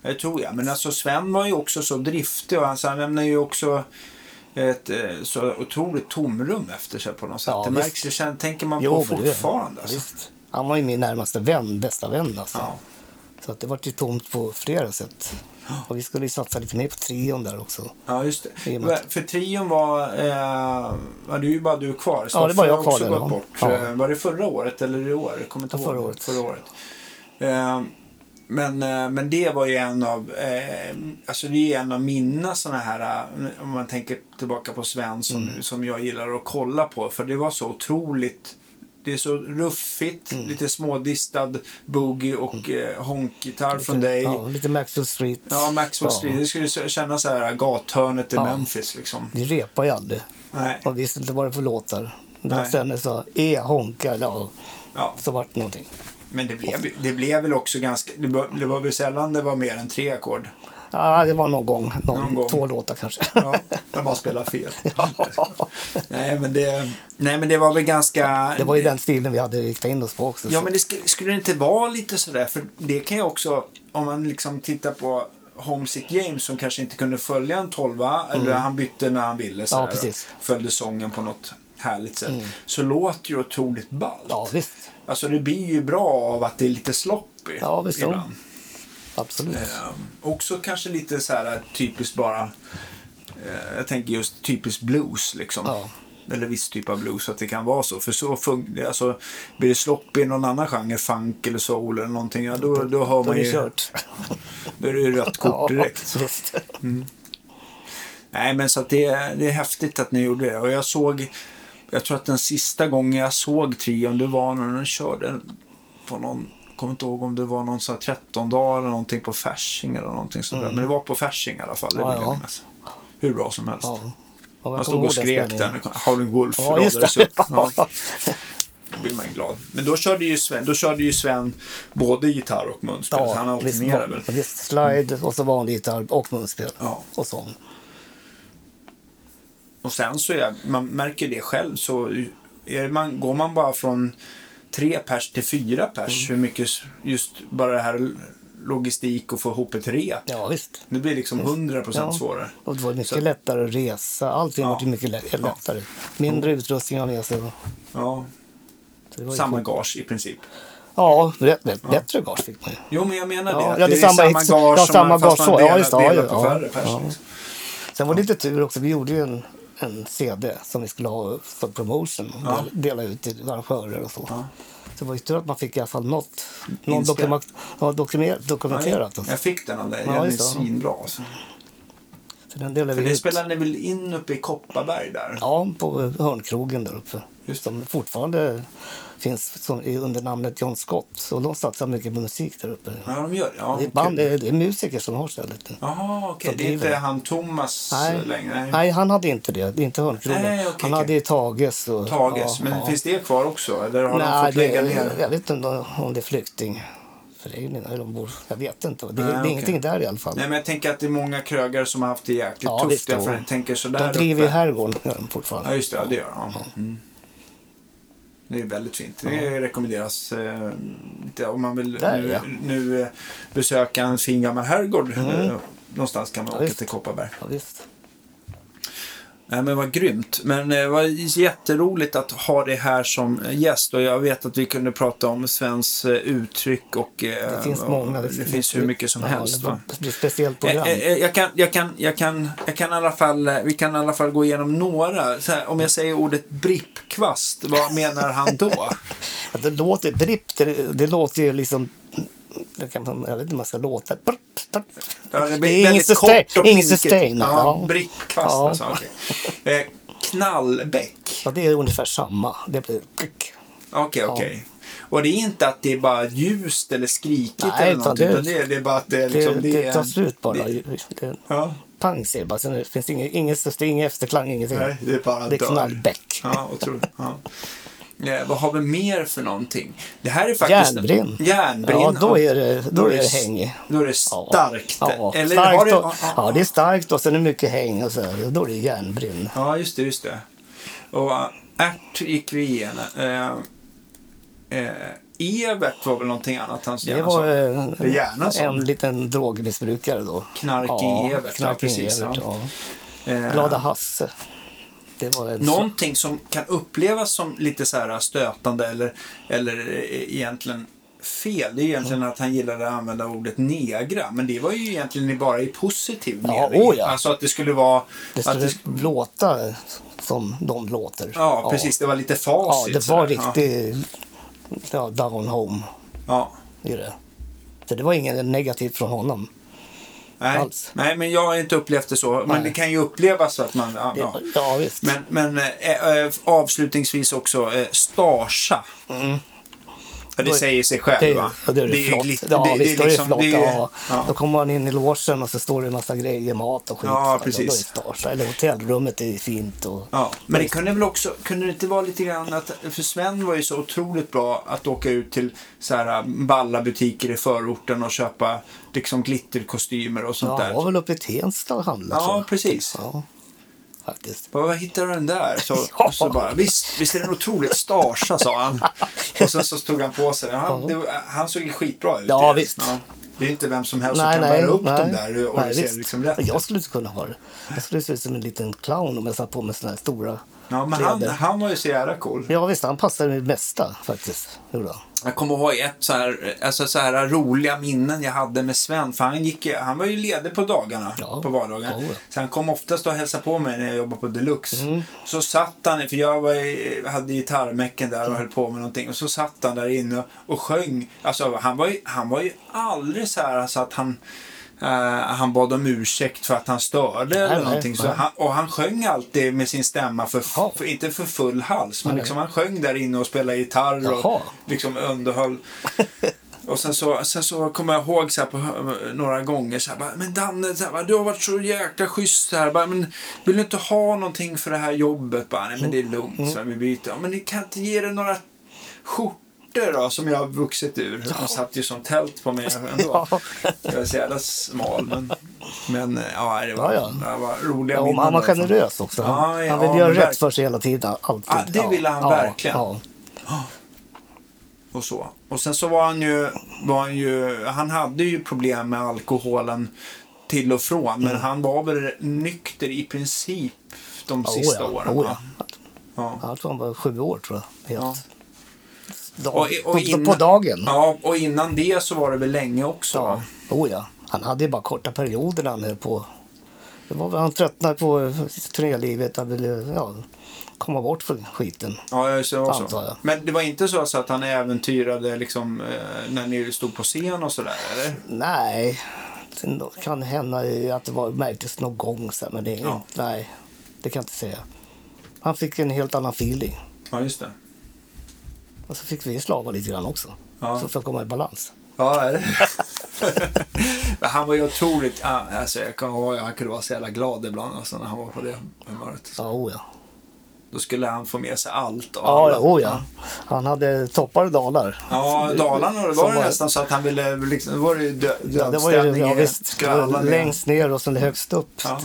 S1: Det tror jag. Men alltså Sven var ju också så driftig och alltså, han lämnar ju också ett eh, så otroligt tomrum efter sig på något sätt.
S2: Ja,
S1: det
S2: visst.
S1: märks ju, sen tänker man
S2: Jo,
S1: på
S2: men det-
S1: fortfarande. Alltså.
S2: Visst. Han var ju min närmaste vän, bästa vän alltså.
S1: Ja.
S2: Så att det vart ju tomt på flera sätt. Och vi skulle ju satsa lite mer på trion där också.
S1: ja, just
S2: I och med
S1: det.
S2: att-
S1: För trion var, eh, var det är ju bara du kvar.
S2: Ja, det är bara
S1: Staffan
S2: jag
S1: har
S2: kvar
S1: också
S2: där,
S1: gått
S2: ja.
S1: bort.
S2: Ja.
S1: Eh, Var det förra året eller i år? Jag kommer inte
S2: Ja,
S1: ihåg.
S2: förra året.
S1: Förra året. Eh, men, eh, men det var ju en av, eh, alltså det är en av mina sådana här, eh, om man tänker tillbaka på Sven som,
S2: Mm.
S1: som jag gillar att kolla på. För det var så otroligt, det är så ruffigt,
S2: Mm.
S1: lite smådistad boogie och eh, honkgitarr från dig.
S2: Ja, Mm. lite Maxwell Street.
S1: Ja, Maxwell
S2: Ja.
S1: Street. Det skulle så- kännas så här gathörnet i
S2: Ja.
S1: Memphis liksom.
S2: Vi repade ju aldrig.
S1: Nej.
S2: Man visste inte vad det var för låtar. Men
S1: Nej.
S2: sen så, e honka, ja,
S1: Ja.
S2: så vart det någonting.
S1: Men det blev, det blev väl också ganska, det var, det var väl sällan det var mer än tre ackord.
S2: Ja, det var någon gång. Någon,
S1: Någon gång.
S2: Två låtar kanske.
S1: Ja, när man spelar fel. nej, men det, nej, men det var väl ganska...
S2: Det var ju den stilen vi hade riktat in oss på också.
S1: Ja,
S2: så-
S1: men det sk- skulle det inte vara lite sådär, för det kan ju också, om man liksom tittar på Homesick James som kanske inte kunde följa en tolva, eller han bytte när han ville sådär, och
S2: Mm. precis. Mm.
S1: följde sången på något härligt sätt, så låter det otroligt ballt.
S2: ja visst.
S1: Alltså det blir ju bra av att det är lite sloppy
S2: Ja, visst, ja.
S1: ibland.
S2: Absolut.
S1: Eh, också kanske lite så här typiskt bara, eh, jag tänker just typiskt blues liksom.
S2: Ja.
S1: Eller viss typ av blues, att det kan vara så. För så funkar alltså, blir det sloppy i någon annan genre, funk eller soul eller någonting, ja, då, då hör
S2: Då är
S1: man
S2: det
S1: ju,
S2: kört.
S1: då är det ju rött kort direkt.
S2: Ja, visst.
S1: Nej, men så att det, det är häftigt att ni gjorde det. Och jag såg, jag tror att den sista gången jag såg trion, det var när de körde på någon, kommer inte ihåg om det var någon sån här 13 dagar eller någonting på Fasching eller någonting sådär. Men det var på Fasching i alla fall, det
S2: Mm. Ja,
S1: vill jag
S2: ja.
S1: minnas. Hur bra som helst.
S2: Ja. Ja,
S1: Man
S2: jag kommer
S1: stod
S2: ihåg
S1: och
S2: den
S1: skrek
S2: spelningen.
S1: där, Howling Wolf
S2: Ja, just
S1: radades
S2: det.
S1: upp. Ja, då blir man glad. Men då körde ju Sven, då körde ju Sven både gitarr och munspel. så han
S2: visst,
S1: alternerade väl.
S2: visst, slide och så vanlig gitarr och munspel.
S1: Ja.
S2: Och sång.
S1: Och sen så är, man märker det själv, så är man, går man bara från tre pers till fyra pers,
S2: Mm.
S1: hur mycket s- just bara det här logistik och få ihop ett rep.
S2: Ja, visst.
S1: Det blir liksom
S2: Mm.
S1: 100 procent svårare.
S2: Och det var mycket
S1: Så-
S2: lättare att resa. Allting
S1: Ja.
S2: var mycket lä- lättare. Mindre utrustning att ha med sig. Så
S1: Ja,
S2: det var ju
S1: samma
S2: skönt.
S1: gage i princip.
S2: Ja, rätt, rätt, bättre gage fick man ju.
S1: Jo, men jag menar
S2: Ja,
S1: det.
S2: ja,
S1: att
S2: det är samma-
S1: samma
S2: ja,
S1: gage, som
S2: samma
S1: man, fast
S2: gage,
S1: man
S2: ja,
S1: delar,
S2: just det,
S1: delar
S2: ja,
S1: på
S2: ja,
S1: färre pers.
S2: ja.
S1: liksom.
S2: Sen var det lite tur också. Vi gjorde ju en, en CD som vi skulle ha för promotion. och
S1: Ja.
S2: del- Dela ut till arrangörer och så. Så det var ju tur att man fick i alla fall något. Någon
S1: Inspel.
S2: dokument, ja, dokumer- dokumenterat.
S1: Ja,
S2: alltså.
S1: jag fick den av dig.
S2: Ja,
S1: Den är
S2: just det, ja.
S1: svinbra. Alltså.
S2: Så den delade
S1: För
S2: vi
S1: det
S2: ut.
S1: spelade ni väl in uppe i Kopparberg där?
S2: Ja, på Hörnkrogen där uppe.
S1: Just det.
S2: som fortfarande finns som, i- under namnet John Scott. Och de satsar mycket på musik där uppe.
S1: Ja, de gör det. Ja,
S2: det, är
S1: okej.
S2: band, det, är, det är musiker som har stället nu.
S1: Jaha, okej.
S2: Som
S1: Det är inte
S2: driver.
S1: han Thomas längre?
S2: Nej. Nej, han hade inte det. Det är Inte Hörnkrogen.
S1: Nej, okej,
S2: han
S1: okej.
S2: hade ju Tages. Och,
S1: Tages.
S2: ja,
S1: men
S2: ja.
S1: finns det kvar också? Eller har de
S2: Nej,
S1: fått lägga
S2: det,
S1: ner?
S2: jag vet inte om det är flyktingföreningen eller de bor. Jag vet inte. Det,
S1: Nej,
S2: det är
S1: okej.
S2: ingenting där i alla fall.
S1: Nej, men jag tänker att det är många krögar som har haft det jäkligt
S2: Ja,
S1: tufft.
S2: visst,
S1: därför
S2: jo.
S1: jag tänker sådär
S2: de driver ju
S1: uppe.
S2: herrgården gör de fortfarande.
S1: Ja, just det. Ja, det gör de. Ja. Mm. Det är väldigt fint. Det rekommenderas eh, lite om man vill
S2: Där,
S1: nu,
S2: ja. Mm.
S1: nu eh, besöka en fin gammal herrgård. eh, någonstans kan man
S2: Ja,
S1: åka
S2: visst.
S1: till Kopparberg.
S2: Ja, visst.
S1: Nej, men vad grymt. Men eh, det var jätteroligt att ha dig här som gäst. Och jag vet att vi kunde prata om Svens eh, uttryck och eh,
S2: Det finns
S1: och
S2: många. liksom.
S1: Det finns hur mycket som
S2: ja,
S1: helst.
S2: Det
S1: Va?
S2: blir- blir ett speciellt
S1: Eh,
S2: program.
S1: eh, eh, Jag kan, jag kan, jag kan, jag kan i alla fall, eh, vi kan i alla fall gå igenom några. Så här, om jag säger ordet brippkvast, vad menar han då?
S2: Att det låter dripp, det, det låter ju liksom... Det kan man, jag vet inte hur man ska låta. Brr, brr.
S1: Ja,
S2: det,
S1: blir
S2: är ingen
S1: väldigt
S2: sustain.
S1: kort och
S2: Ingen
S1: pinkigt.
S2: sustain.
S1: Ja,
S2: ja.
S1: brippkvast
S2: Ja.
S1: alltså. okej. Eh, knallbäck.
S2: Ja, det är ungefär samma. Det blir...
S1: Okej,
S2: Ja.
S1: okej. Och det är inte att det är bara ljust eller skrikigt
S2: Nej,
S1: eller
S2: utan
S1: något,
S2: det-
S1: utan det, är- det är bara att det, är
S2: Det,
S1: liksom,
S2: det,
S1: är
S2: tar
S1: en-
S2: slut bara.
S1: det-
S2: Det, det,
S1: Ja,
S2: pang säger det bara. Sen det finns ingen, ingen sustain, ingen efterklang, ingenting.
S1: nej, det är bara
S2: det är
S1: dör.
S2: knallbäck.
S1: Ja, otroligt. Ja. Eh, vad har vi mer för någonting? Det här är faktiskt...
S2: Järnbrinn.
S1: Järnbrinn.
S2: Ja, då är det, då är det
S1: s-
S2: häng.
S1: Då är det starkt.
S2: Ja, ja,
S1: Eller
S2: starkt
S1: har det...
S2: och, ja, det är starkt och sen är det mycket häng och så. här. Då är det järnbrinn.
S1: Ja, just det, just det. Och äh, ärt gick vi igenom. Eh, eh, Evert var väl någonting annat hans
S2: Det
S1: hjärna
S2: var
S1: sa.
S2: eh,
S1: alltså, Det är gärna så.
S2: en liten drogmissbrukare då.
S1: Knarking Evert, ja, precis,
S2: Evert,
S1: ja.
S2: ja.
S1: Eh,
S2: Glada Hasse. Det var en sån-
S1: Någonting som kan upplevas som lite så här stötande eller, eller eh, egentligen fel, det är egentligen
S2: Mm.
S1: att han gillade att använda ordet negra. Men det var ju egentligen bara i positiv
S2: Ja,
S1: mening.
S2: åh ja.
S1: Alltså att det skulle vara...
S2: det
S1: att
S2: skulle
S1: det, sk-
S2: låta som de låter.
S1: ja, precis. Det var lite
S2: Ja,
S1: facit.
S2: det
S1: så där.
S2: var riktigt ja, down home
S1: Ja.
S2: i det. Så det var inget negativt från honom.
S1: Nej.
S2: alls.
S1: Nej, men jag har inte upplevt det så. Men
S2: Nej.
S1: det kan ju upplevas så att man... Ja,
S2: Det,
S1: ja.
S2: ja. visst.
S1: Men, men eh, eh, avslutningsvis också, eh, starsa. Ja, det
S2: Då-
S1: säger sig själv
S2: Mm. det,
S1: va?
S2: ja, det är det
S1: ju
S2: flott.
S1: lite-
S2: ja,
S1: det- det är
S2: visst, då är det
S1: liksom-
S2: flott.
S1: det är-
S2: ja.
S1: ja.
S2: Då kommer man in i logen och så står det en massa grejer, mat och skit.
S1: Ja,
S2: så här, och
S1: precis.
S2: Då är det stars. Eller hotellrummet är fint. Och,
S1: Ja, men det kunde väl också, kunde det inte vara lite grann att, för Sven var ju så otroligt bra att åka ut till så här eh, balla butiker i förorten och köpa liksom glitterkostymer och sånt
S2: Ja,
S1: där.
S2: han var väl uppe i Tensta och handlade.
S1: Ja,
S2: tror jag.
S1: precis.
S2: Ja, faktiskt.
S1: Vad vad hittar du den där? Så,
S2: Ja.
S1: så bara, visst, visst är den otroligt starsa, sa han. Och sen så tog han på sig den. Han, det, var- han såg ju skitbra ut.
S2: Ja,
S1: det. liksom,
S2: visst.
S1: Det är inte vem som helst som
S2: Nej,
S1: kan
S2: nej,
S1: bära upp
S2: nej.
S1: dem där och det
S2: nej,
S1: ser
S2: visst.
S1: liksom rätt ut.
S2: Jag skulle inte kunna ha det. Jag skulle se ut som en liten clown om jag satt på mig såna här stora
S1: Ja, men han,
S2: kläder.
S1: han var ju så jävla cool.
S2: Ja, visst. Han passade det mesta faktiskt. Gjorde han.
S1: Jag kommer ihåg ett så här, alltså så här roliga minnen jag hade med Sven. För han, gick, han var ju ledig på dagarna,
S2: Ja.
S1: på vardagarna.
S2: Ja, Mm. ja.
S1: Så han kom oftast och hälsade på mig när jag jobbade på Deluxe. Så satt han, för jag var, i- hade gitarrmäcken där och höll på med någonting. Och så satt han där inne och- och sjöng. Alltså han var ju, han var ju aldrig så här alltså att han eh, han bad om ursäkt för att han störde eller
S2: nej,
S1: någonting. Så
S2: nej.
S1: han, och han sjöng alltid med sin stämma, för,
S2: Jaha.
S1: för, inte för full hals, men
S2: Nej.
S1: liksom han sjöng där inne och spelade gitarr och
S2: Jaha.
S1: liksom underhöll. Och sen så, sen så kommer jag ihåg så här på, några gånger så här, bara, men Danne, så här, bara, du har varit så jäkla schysst så här, bara, men vill du inte ha någonting för det här jobbet? Bara, Nej men
S2: Mm.
S1: det är lugnt, så här, vi byter. Ja, men ni kan inte ge dig några skjortor då som jag har vuxit ur. De satt ju som tält på mig ändå.
S2: Ja.
S1: Jag är så jävla smal men, men ja, det var,
S2: Ja,
S1: Det var roliga
S2: Ja, men
S1: minnen
S2: han var
S1: därifrån.
S2: generös också. Han,
S1: Ja, ja,
S2: han ville
S1: men
S2: göra
S1: verkligen.
S2: rätt för sig hela tiden. Alltid.
S1: Ja, det ville han verkligen.
S2: Ja,
S1: och så. Och sen så var han ju, var han ju, han hade ju problem med alkoholen till och från. Men
S2: Mm.
S1: han var väl nykter i princip de
S2: ja.
S1: sista
S2: oh, ja.
S1: åren.
S2: Oh,
S1: va?
S2: ja.
S1: Ja.
S2: Jag tror han var sju år tror jag.
S1: Ja.
S2: Helt. Dag,
S1: Och, och
S2: Alltså på,
S1: innan-
S2: på dagen.
S1: Ja, och innan det så var det väl länge också.
S2: Ja,
S1: va?
S2: oh ja. Han hade ju bara korta perioder när han höll på. Det var väl, han tröttnade på turnélivet. Han ville ja, komma bort från skiten.
S1: Ja, ja, så det var
S2: Antar
S1: så.
S2: jag.
S1: Men det var inte så alltså att han äventyrade liksom, eh, när ni stod på scen och sådär, eller?
S2: Nej, det kan hända ju att det var, märktes någon gång. Så här, men det, är
S1: Ja.
S2: inte- nej, det kan jag inte säga. Han fick en helt annan feeling.
S1: Ja, just det.
S2: Och så fick vi slava lite grann också.
S1: Ja.
S2: Så för att komma i balans.
S1: Ja, är det? Men han var ju otroligt... ah, Alltså, jag kan ihåg att han kunde vara så jävla glad ibland alltså, när han var på det humöret.
S2: Ja, oh ja.
S1: Då skulle han få med sig allt och
S2: Ja,
S1: alla.
S2: ja, oh ja. Han hade toppar och dalar.
S1: Ja, Dalarna då
S2: Som
S1: var det nästan så att han ville... Liksom, då var det ju dö-
S2: Ja, det var ju
S1: dödsstämning.
S2: ja,
S1: i-
S2: visst, det
S1: skvallrar
S2: var
S1: ner,
S2: längst ner och sen högst upp.
S1: Ja.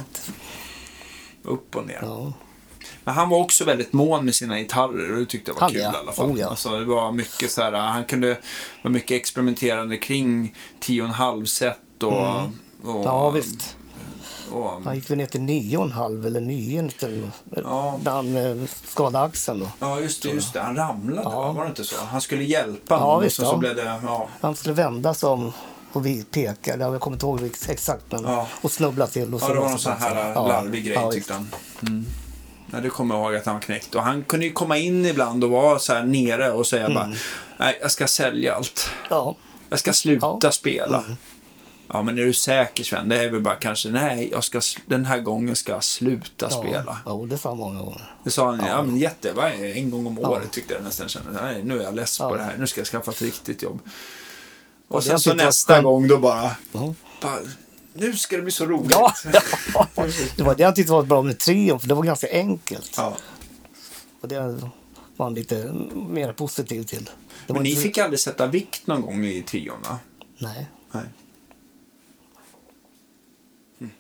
S1: Upp och ner.
S2: Ja.
S1: Men han var också väldigt mån med sina gitarrer och det tyckte jag var
S2: Han,
S1: kul
S2: ja.
S1: i alla fall.
S2: Oh, ja.
S1: alltså, det var mycket så här, han kunde vara mycket experimenterande kring 10,5 set och Och,
S2: Mm. Ja, visst.
S1: Och,
S2: Han gick väl ner till nio och en halv eller nio eller-
S1: Ja.
S2: när han eh, skadade axeln. Då.
S1: ja, just det, just det. Han ramlade,
S2: Ja.
S1: va? var det inte så? Han skulle hjälpa
S2: Ja,
S1: någon,
S2: visst,
S1: och så, så
S2: ja.
S1: blev det... Ja.
S2: Han skulle vända sig om och vi pekade, jag kommer inte ihåg vilket- exakt, men,
S1: Ja.
S2: och snubbla till. Och
S1: Ja, det var någon sån här eh,
S2: Ja,
S1: larvig grej
S2: ja,
S1: tyckte han. Mm. Ja, det kommer jag ihåg att han var knäckt. Och han kunde ju komma in ibland och vara så här nere och säga
S2: Mm.
S1: bara Nej, jag ska sälja allt.
S2: Ja,
S1: Jag ska sluta
S2: Ja. Mm.
S1: spela. Ja, men är du säker Sven? Det är väl bara kanske Nej, jag ska, sl- den här gången ska jag sluta spela.
S2: Ja, jo, det sa han många gånger.
S1: Det sa han ja. men jätte, varje- en gång om
S2: Ja.
S1: året tyckte jag nästan. Kände, nej, nu är jag less på
S2: Ja.
S1: det här. Nu ska jag skaffa ett riktigt jobb. Och,
S2: det
S1: sen
S2: jag
S1: så
S2: tyckte var
S1: nästa
S2: skönt.
S1: gång då bara,
S2: Ja.
S1: bara, nu ska det bli så roligt.
S2: Ja, det var det jag tyckte var bra med trion, för det var ganska enkelt.
S1: Ja.
S2: Och det var han lite mer positiv till. Det var
S1: Men ni
S2: inte-
S1: fick aldrig sätta vikt någon gång i trion va?
S2: Nej.
S1: Nej. Hm.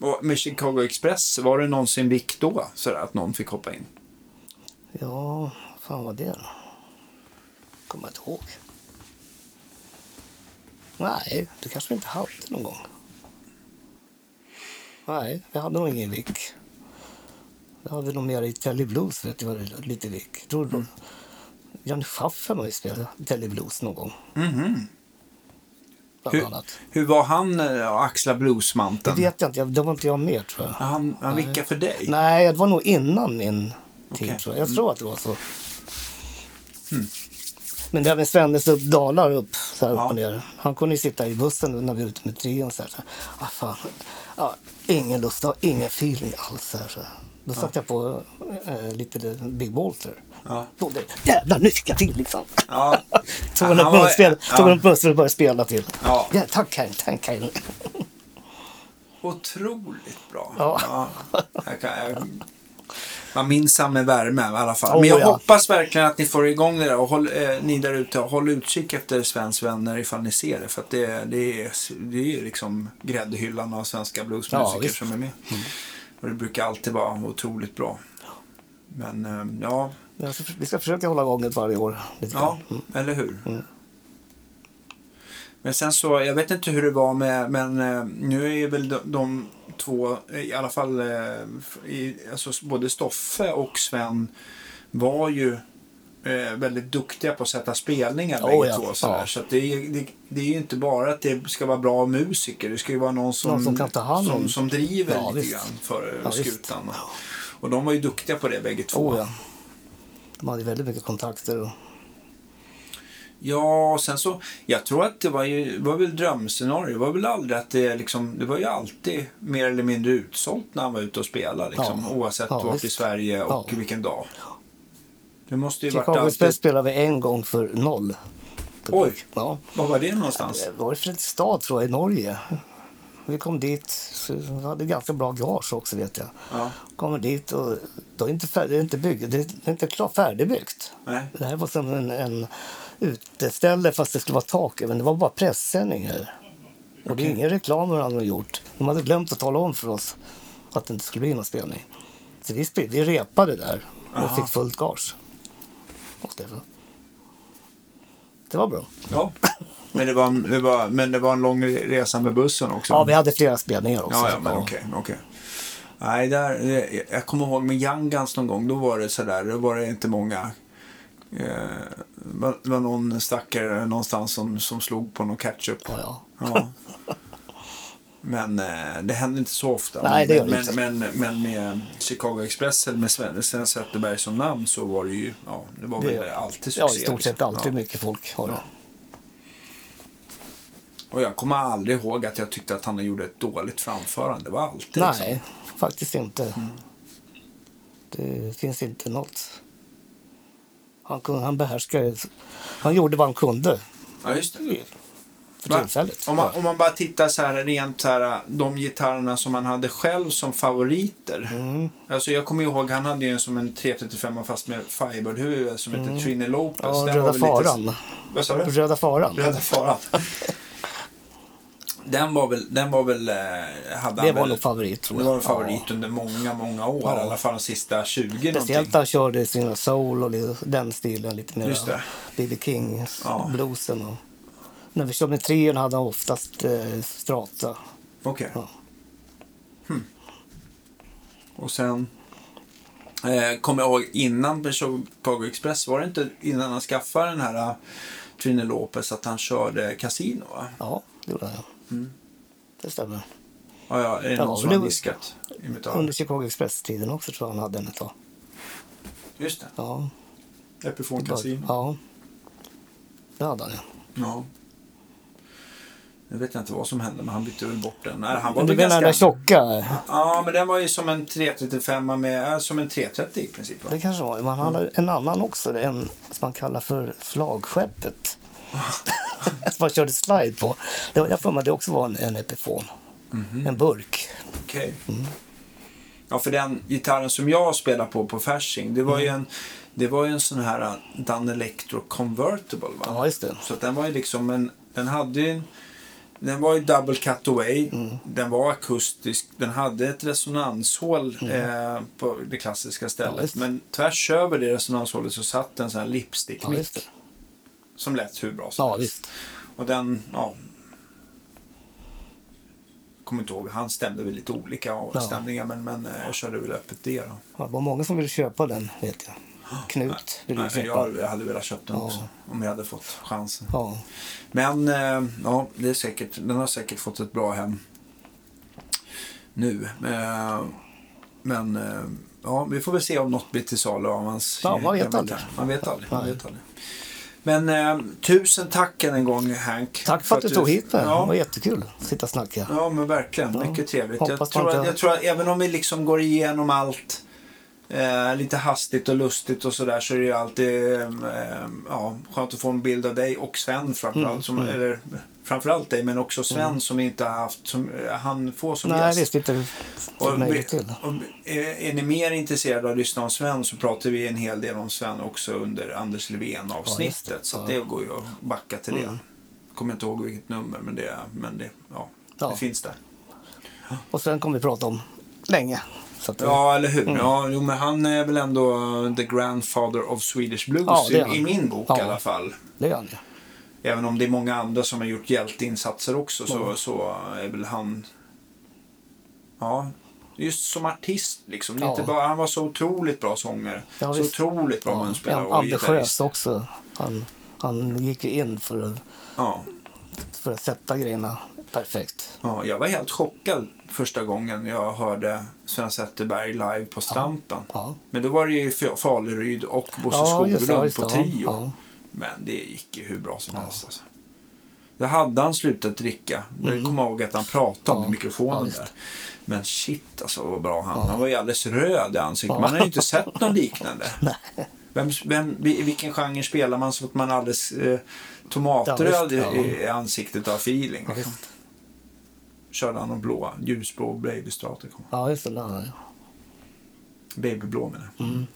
S1: Och med Chicago Express, var det någonsin vikt då? Sådär att någon fick hoppa in?
S2: Ja, fan var det då? Kommer jag inte ihåg. Nej, det kanske vi inte hade någon gång. Nej, vi hade nog ingen vick. Det hade vi nog mer i Telly Blues, vet du vad det lite vick. Tror du mm. Johnny Schaffer var ju spelade Telly Blues någon gång. Bland
S1: Hur,
S2: annat.
S1: hur var han eh, att axla
S2: Det
S1: bluesmanteln?
S2: vet jag inte, jag- det var inte jag med tror jag.
S1: Han, han vickade för dig?
S2: Nej, det var nog innan min tid.
S1: Okej. Hmm.
S2: Tror jag. jag tror att det var så. Men det här med Svennes upp, dalar upp, så här
S1: Ja.
S2: upp och ner. Han kunde ju sitta i bussen när vi var ute med trion. Så här, så här. Ah, fan. Ja, ingen lust, jag har ingen feeling alls. Så här, så här. Då satte jag på eh, lite Big Walter.
S1: Ja.
S2: Då det, jävlar, nu fick jag till liksom.
S1: Ja.
S2: Tog en upp
S1: Han var-
S2: munspel tog
S1: ja.
S2: en upp munspel och började spela till.
S1: Ja.
S2: Ja, tack Karin, tack Karin.
S1: Otroligt bra.
S2: Ja.
S1: Jag kan, jag, man minns han med värme i alla fall.
S2: Oh,
S1: Men jag
S2: ja.
S1: hoppas verkligen att ni får igång det där och håll, eh, ni där ute och håll utkik efter Svens vänner ifall ni ser det. För att det, det är det är ju liksom gräddhyllan av svenska
S2: Ja,
S1: bluesmusiker
S2: visst. Mm.
S1: som är med. Och det brukar alltid vara otroligt bra. Men eh, ja,
S2: Jag ska- Vi ska försöka hålla igång det varje år. Lite
S1: Ja,
S2: grann. Mm.
S1: eller hur? Men sen så, jag vet inte hur det var med, men eh, nu är väl de, de två, eh, i alla fall eh, f- i, alltså, s- både Stoffe och Sven var ju eh, väldigt duktiga på att sätta spelningar
S2: Oh,
S1: bägge
S2: ja.
S1: två. sådär.
S2: Ja.
S1: Så att det, är- det, det är ju inte bara att det ska vara bra musiker, det ska ju vara någon som,
S2: Någon som kan ta hand om-
S1: som, som driver
S2: Ja,
S1: lite
S2: visst.
S1: grann för
S2: Ja, visst.
S1: skutan. Och, och de var ju duktiga på det bägge två.
S2: Oh, ja. De hade väldigt mycket kontakter. Och...
S1: Ja, och sen så, jag tror att det var ju, det var väl drömscenario. Det var väl aldrig att det liksom, det var ju alltid mer eller mindre utsålt när han var ute och spelade liksom.
S2: Ja.
S1: Oavsett
S2: Ja,
S1: vart
S2: visst.
S1: i Sverige och
S2: Ja.
S1: vilken dag. Det måste ju varit
S2: Chicago
S1: alltid,
S2: Express spelade vi en gång för noll. publik.
S1: Oj.
S2: Ja.
S1: var var det någonstans?
S2: Det var i Fredrikstad tror jag, i Norge. Vi kom dit, så vi hade ganska bra garage också vet jag.
S1: Ja.
S2: Kommer dit och då är inte färd, det är inte byggt, det är det är inte klart färdigbyggt.
S1: Nej.
S2: Det här var som en, en uteställe fast det skulle vara tak över, men det var bara pressändningar. Och det är ingen reklam de hade gjort. De hade glömt att tala om för oss att det inte skulle bli någon spelning. Så vi, spe- vi repade där och
S1: Aha.
S2: fick fullt gage. Och det, var- det var bra.
S1: Ja. Men det, var, en- det var, men det var en lång resa med bussen också?
S2: Ja, vi hade flera spelningar också.
S1: Ja, ja, men okej. okej. Nej, där, eh, jag kommer ihåg med Young Guns någon gång, då var det sådär, då var det inte många. Eh, var- det var någon stackare någonstans som, som slog på någon ketchup.
S2: Ja, ja.
S1: Ja. Men eh, det hände inte så ofta.
S2: Nej, det gör
S1: men,
S2: det
S1: men,
S2: inte.
S1: men, men med Chicago Express eller med Sven Sven Zetterberg som namn så var det ju, ja, det var väl
S2: Det-
S1: alltid succé.
S2: Ja, i stort sett
S1: liksom.
S2: alltid
S1: Ja.
S2: mycket folk har det.
S1: Och jag kommer aldrig ihåg att jag tyckte att han gjorde ett dåligt framförande. Det var alltid liksom. Mm.
S2: Nej, faktiskt inte. Det finns inte något. Han, kunde, han behärskade, han gjorde vad han kunde
S1: Ja, just det.
S2: för
S1: Va?
S2: tillfället.
S1: Om man, om man bara tittar så här rent så här, de gitarrerna som han hade själv som favoriter.
S2: Mm.
S1: Alltså jag kommer ihåg, han hade ju en som en 335 fast med Firebird-huvud som hette Trini Lopez.
S2: Mm. ja,
S1: Den
S2: Röda
S1: var väl lite-
S2: faran.
S1: Vad sa du?
S2: Röda faran.
S1: Röda faran. den var väl, den var väl, eh, hade
S2: Det
S1: han
S2: var
S1: väl,
S2: nog favorit tror
S1: det
S2: jag.
S1: var en favorit
S2: Ja.
S1: under många, många år.
S2: Ja.
S1: I alla fall de sista 20
S2: Speciellt när
S1: någonting.
S2: han körde sina soul och li- den stilen lite mer.
S1: Just det.
S2: B.B. King,
S1: Ja.
S2: bluesen och När vi körde med trion hade han oftast eh, strata.
S1: Okej. Hmm.
S2: Ja.
S1: Och sen eh, kommer jag ihåg innan med Chicago Express, var det inte innan han skaffade den här eh, Trine Lopez att han körde kasino va?
S2: ja, det gjorde han. ja. Det stämmer.
S1: Ja, ja, är det
S2: Ja,
S1: någon som
S2: det
S1: har
S2: var-
S1: diskat? i mitt öra?
S2: Under Chicago Express-tiden också tror jag han hade den ett tag.
S1: Just det,
S2: Ja,
S1: Epifon
S2: det var-
S1: Casino.
S2: ja. det hade han ja.
S1: Ja. Nu vet jag inte vad som hände, men han bytte väl bort den. Nej, han var
S2: Men du
S1: väl
S2: menar den där
S1: ganska...
S2: tjocka?
S1: Ja, men den var ju som en 335 med, äh, som en 330 i princip. Va?
S2: Det kanske var. Man hade en annan också, det är en som man kallar för flagskeppet. som man körde slide på. Det var, jag får mig att det också var en, en epifon. En burk.
S1: Okej. Ja, för den gitarren som jag spelar på på Fasching, det var ju
S2: Mm.
S1: en det var ju en sån här eh, Dan Electro Convertible. Va?
S2: Ja, just det.
S1: Så att den var ju liksom en, den hade ju en, den var ju double cutaway,
S2: Mm.
S1: den var akustisk, den hade ett resonanshål eh, på det klassiska
S2: Mm. Ja,
S1: stället.
S2: visst.
S1: men tvärs över det resonanshålet så satt en sån här lipstick
S2: Ja, just det.
S1: som lät hur bra som
S2: Ja,
S1: helst.
S2: visst.
S1: Och den, ja. Kommer inte ihåg, han stämde väl lite olika
S2: Ja.
S1: avstämningar men, men eh, jag körde väl öppet det då.
S2: Ja, det var många som ville köpa den, vet jag. Knut ville ju
S1: Nej,
S2: köpa.
S1: jag, jag hade velat köpt den
S2: Ja.
S1: också om jag hade fått chansen.
S2: Ja,
S1: Men eh, ja, det är säkert, den har säkert fått ett bra hem nu. Eh, men eh, ja, vi får väl se om något blir till salu av hans
S2: Ja, man vet
S1: gamla
S2: aldrig.
S1: gitarr. Man vet aldrig. Man
S2: Nej.
S1: vet aldrig. Men eh, tusen tack än en gång Hank.
S2: tack för att du tog hit mig. Det var
S1: Ja,
S2: jättekul att sitta och snacka.
S1: ja men verkligen.
S2: Ja.
S1: Mycket trevligt.
S2: Hoppas man
S1: Jag tror, att,
S2: inte-
S1: jag tror att även om vi liksom går igenom allt eh, lite hastigt och lustigt och sådär så är det ju alltid eh, eh, ja, skönt att få en bild av dig och Sven framförallt.
S2: Mm,
S1: Som, eller, framförallt dig men också Sven som vi inte har haft som, eh, han får som
S2: Nej,
S1: gäst.
S2: visst inte
S1: Och, vi-
S2: möjligt till.
S1: och, är är ni mer intresserade av att lyssna om Sven så pratar vi en hel del om Sven också under Anders Levén avsnittet.
S2: Ja, just det. Mm.
S1: Så att det går ju att backa till det. Kommer inte ihåg vilket nummer men det, men det, ja,
S2: Ja.
S1: det finns där.
S2: Och sen kommer vi prata om länge. Så att,
S1: Ja eller hur. Ja, jo, men han är väl ändå the grandfather of Swedish blues
S2: Ja, det är
S1: i,
S2: han.
S1: i min bok
S2: Ja.
S1: i alla fall.
S2: Det gör han ju.
S1: Även om det är många andra som har gjort hjälteinsatser också
S2: Mm.
S1: så, så är väl han... Ja, just som artist liksom. Det är
S2: Ja.
S1: Inte bara, han var så otroligt bra sångare.
S2: Ja,
S1: så
S2: visst.
S1: otroligt bra
S2: Ja,
S1: munspelare och gitarrist.
S2: ambitiös också. Han, han gick ju in för att
S1: Ja,
S2: för att sätta grejerna perfekt.
S1: ja, jag var helt chockad första gången jag hörde Sven Zetterberg live på Stampen.
S2: Ja.
S1: Men då var det ju Fa- Faleryd och Bosse
S2: Ja, just det,
S1: Skoglund
S2: just det,
S1: på
S2: ja,
S1: trio.
S2: ja.
S1: Men det gick ju hur bra som helst. Alltså. Då hade han slutat dricka. Jag kommer ihåg att han pratade med
S2: Mm. Ja, ja,
S1: mikrofonen
S2: visst.
S1: där. Men shit alltså vad bra han Han var ju alldeles röd i ansiktet. Man har ju inte sett någon liknande. Vem, vem, I vilken genre spelar man så att man är alldeles eh,
S2: Ja,
S1: tomatröd
S2: visst, ja.
S1: i, i ansiktet av feeling?
S2: Ja,
S1: liksom.
S2: visst.
S1: Körde han någon blå, ljusblå Baby Strater. kom.
S2: Ja, just det. där, ja.
S1: Babyblå menar jag.
S2: Mm.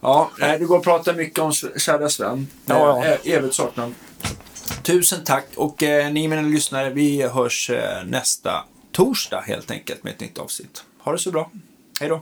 S1: Ja, nej, det går att prata mycket om s- kära Sven.
S2: Ja, ja.
S1: Eh, e- Evigt saknad. Tusen tack och eh, ni mina lyssnare, vi hörs eh, nästa torsdag helt enkelt med ett nytt avsnitt. Ha det så bra. Hej då.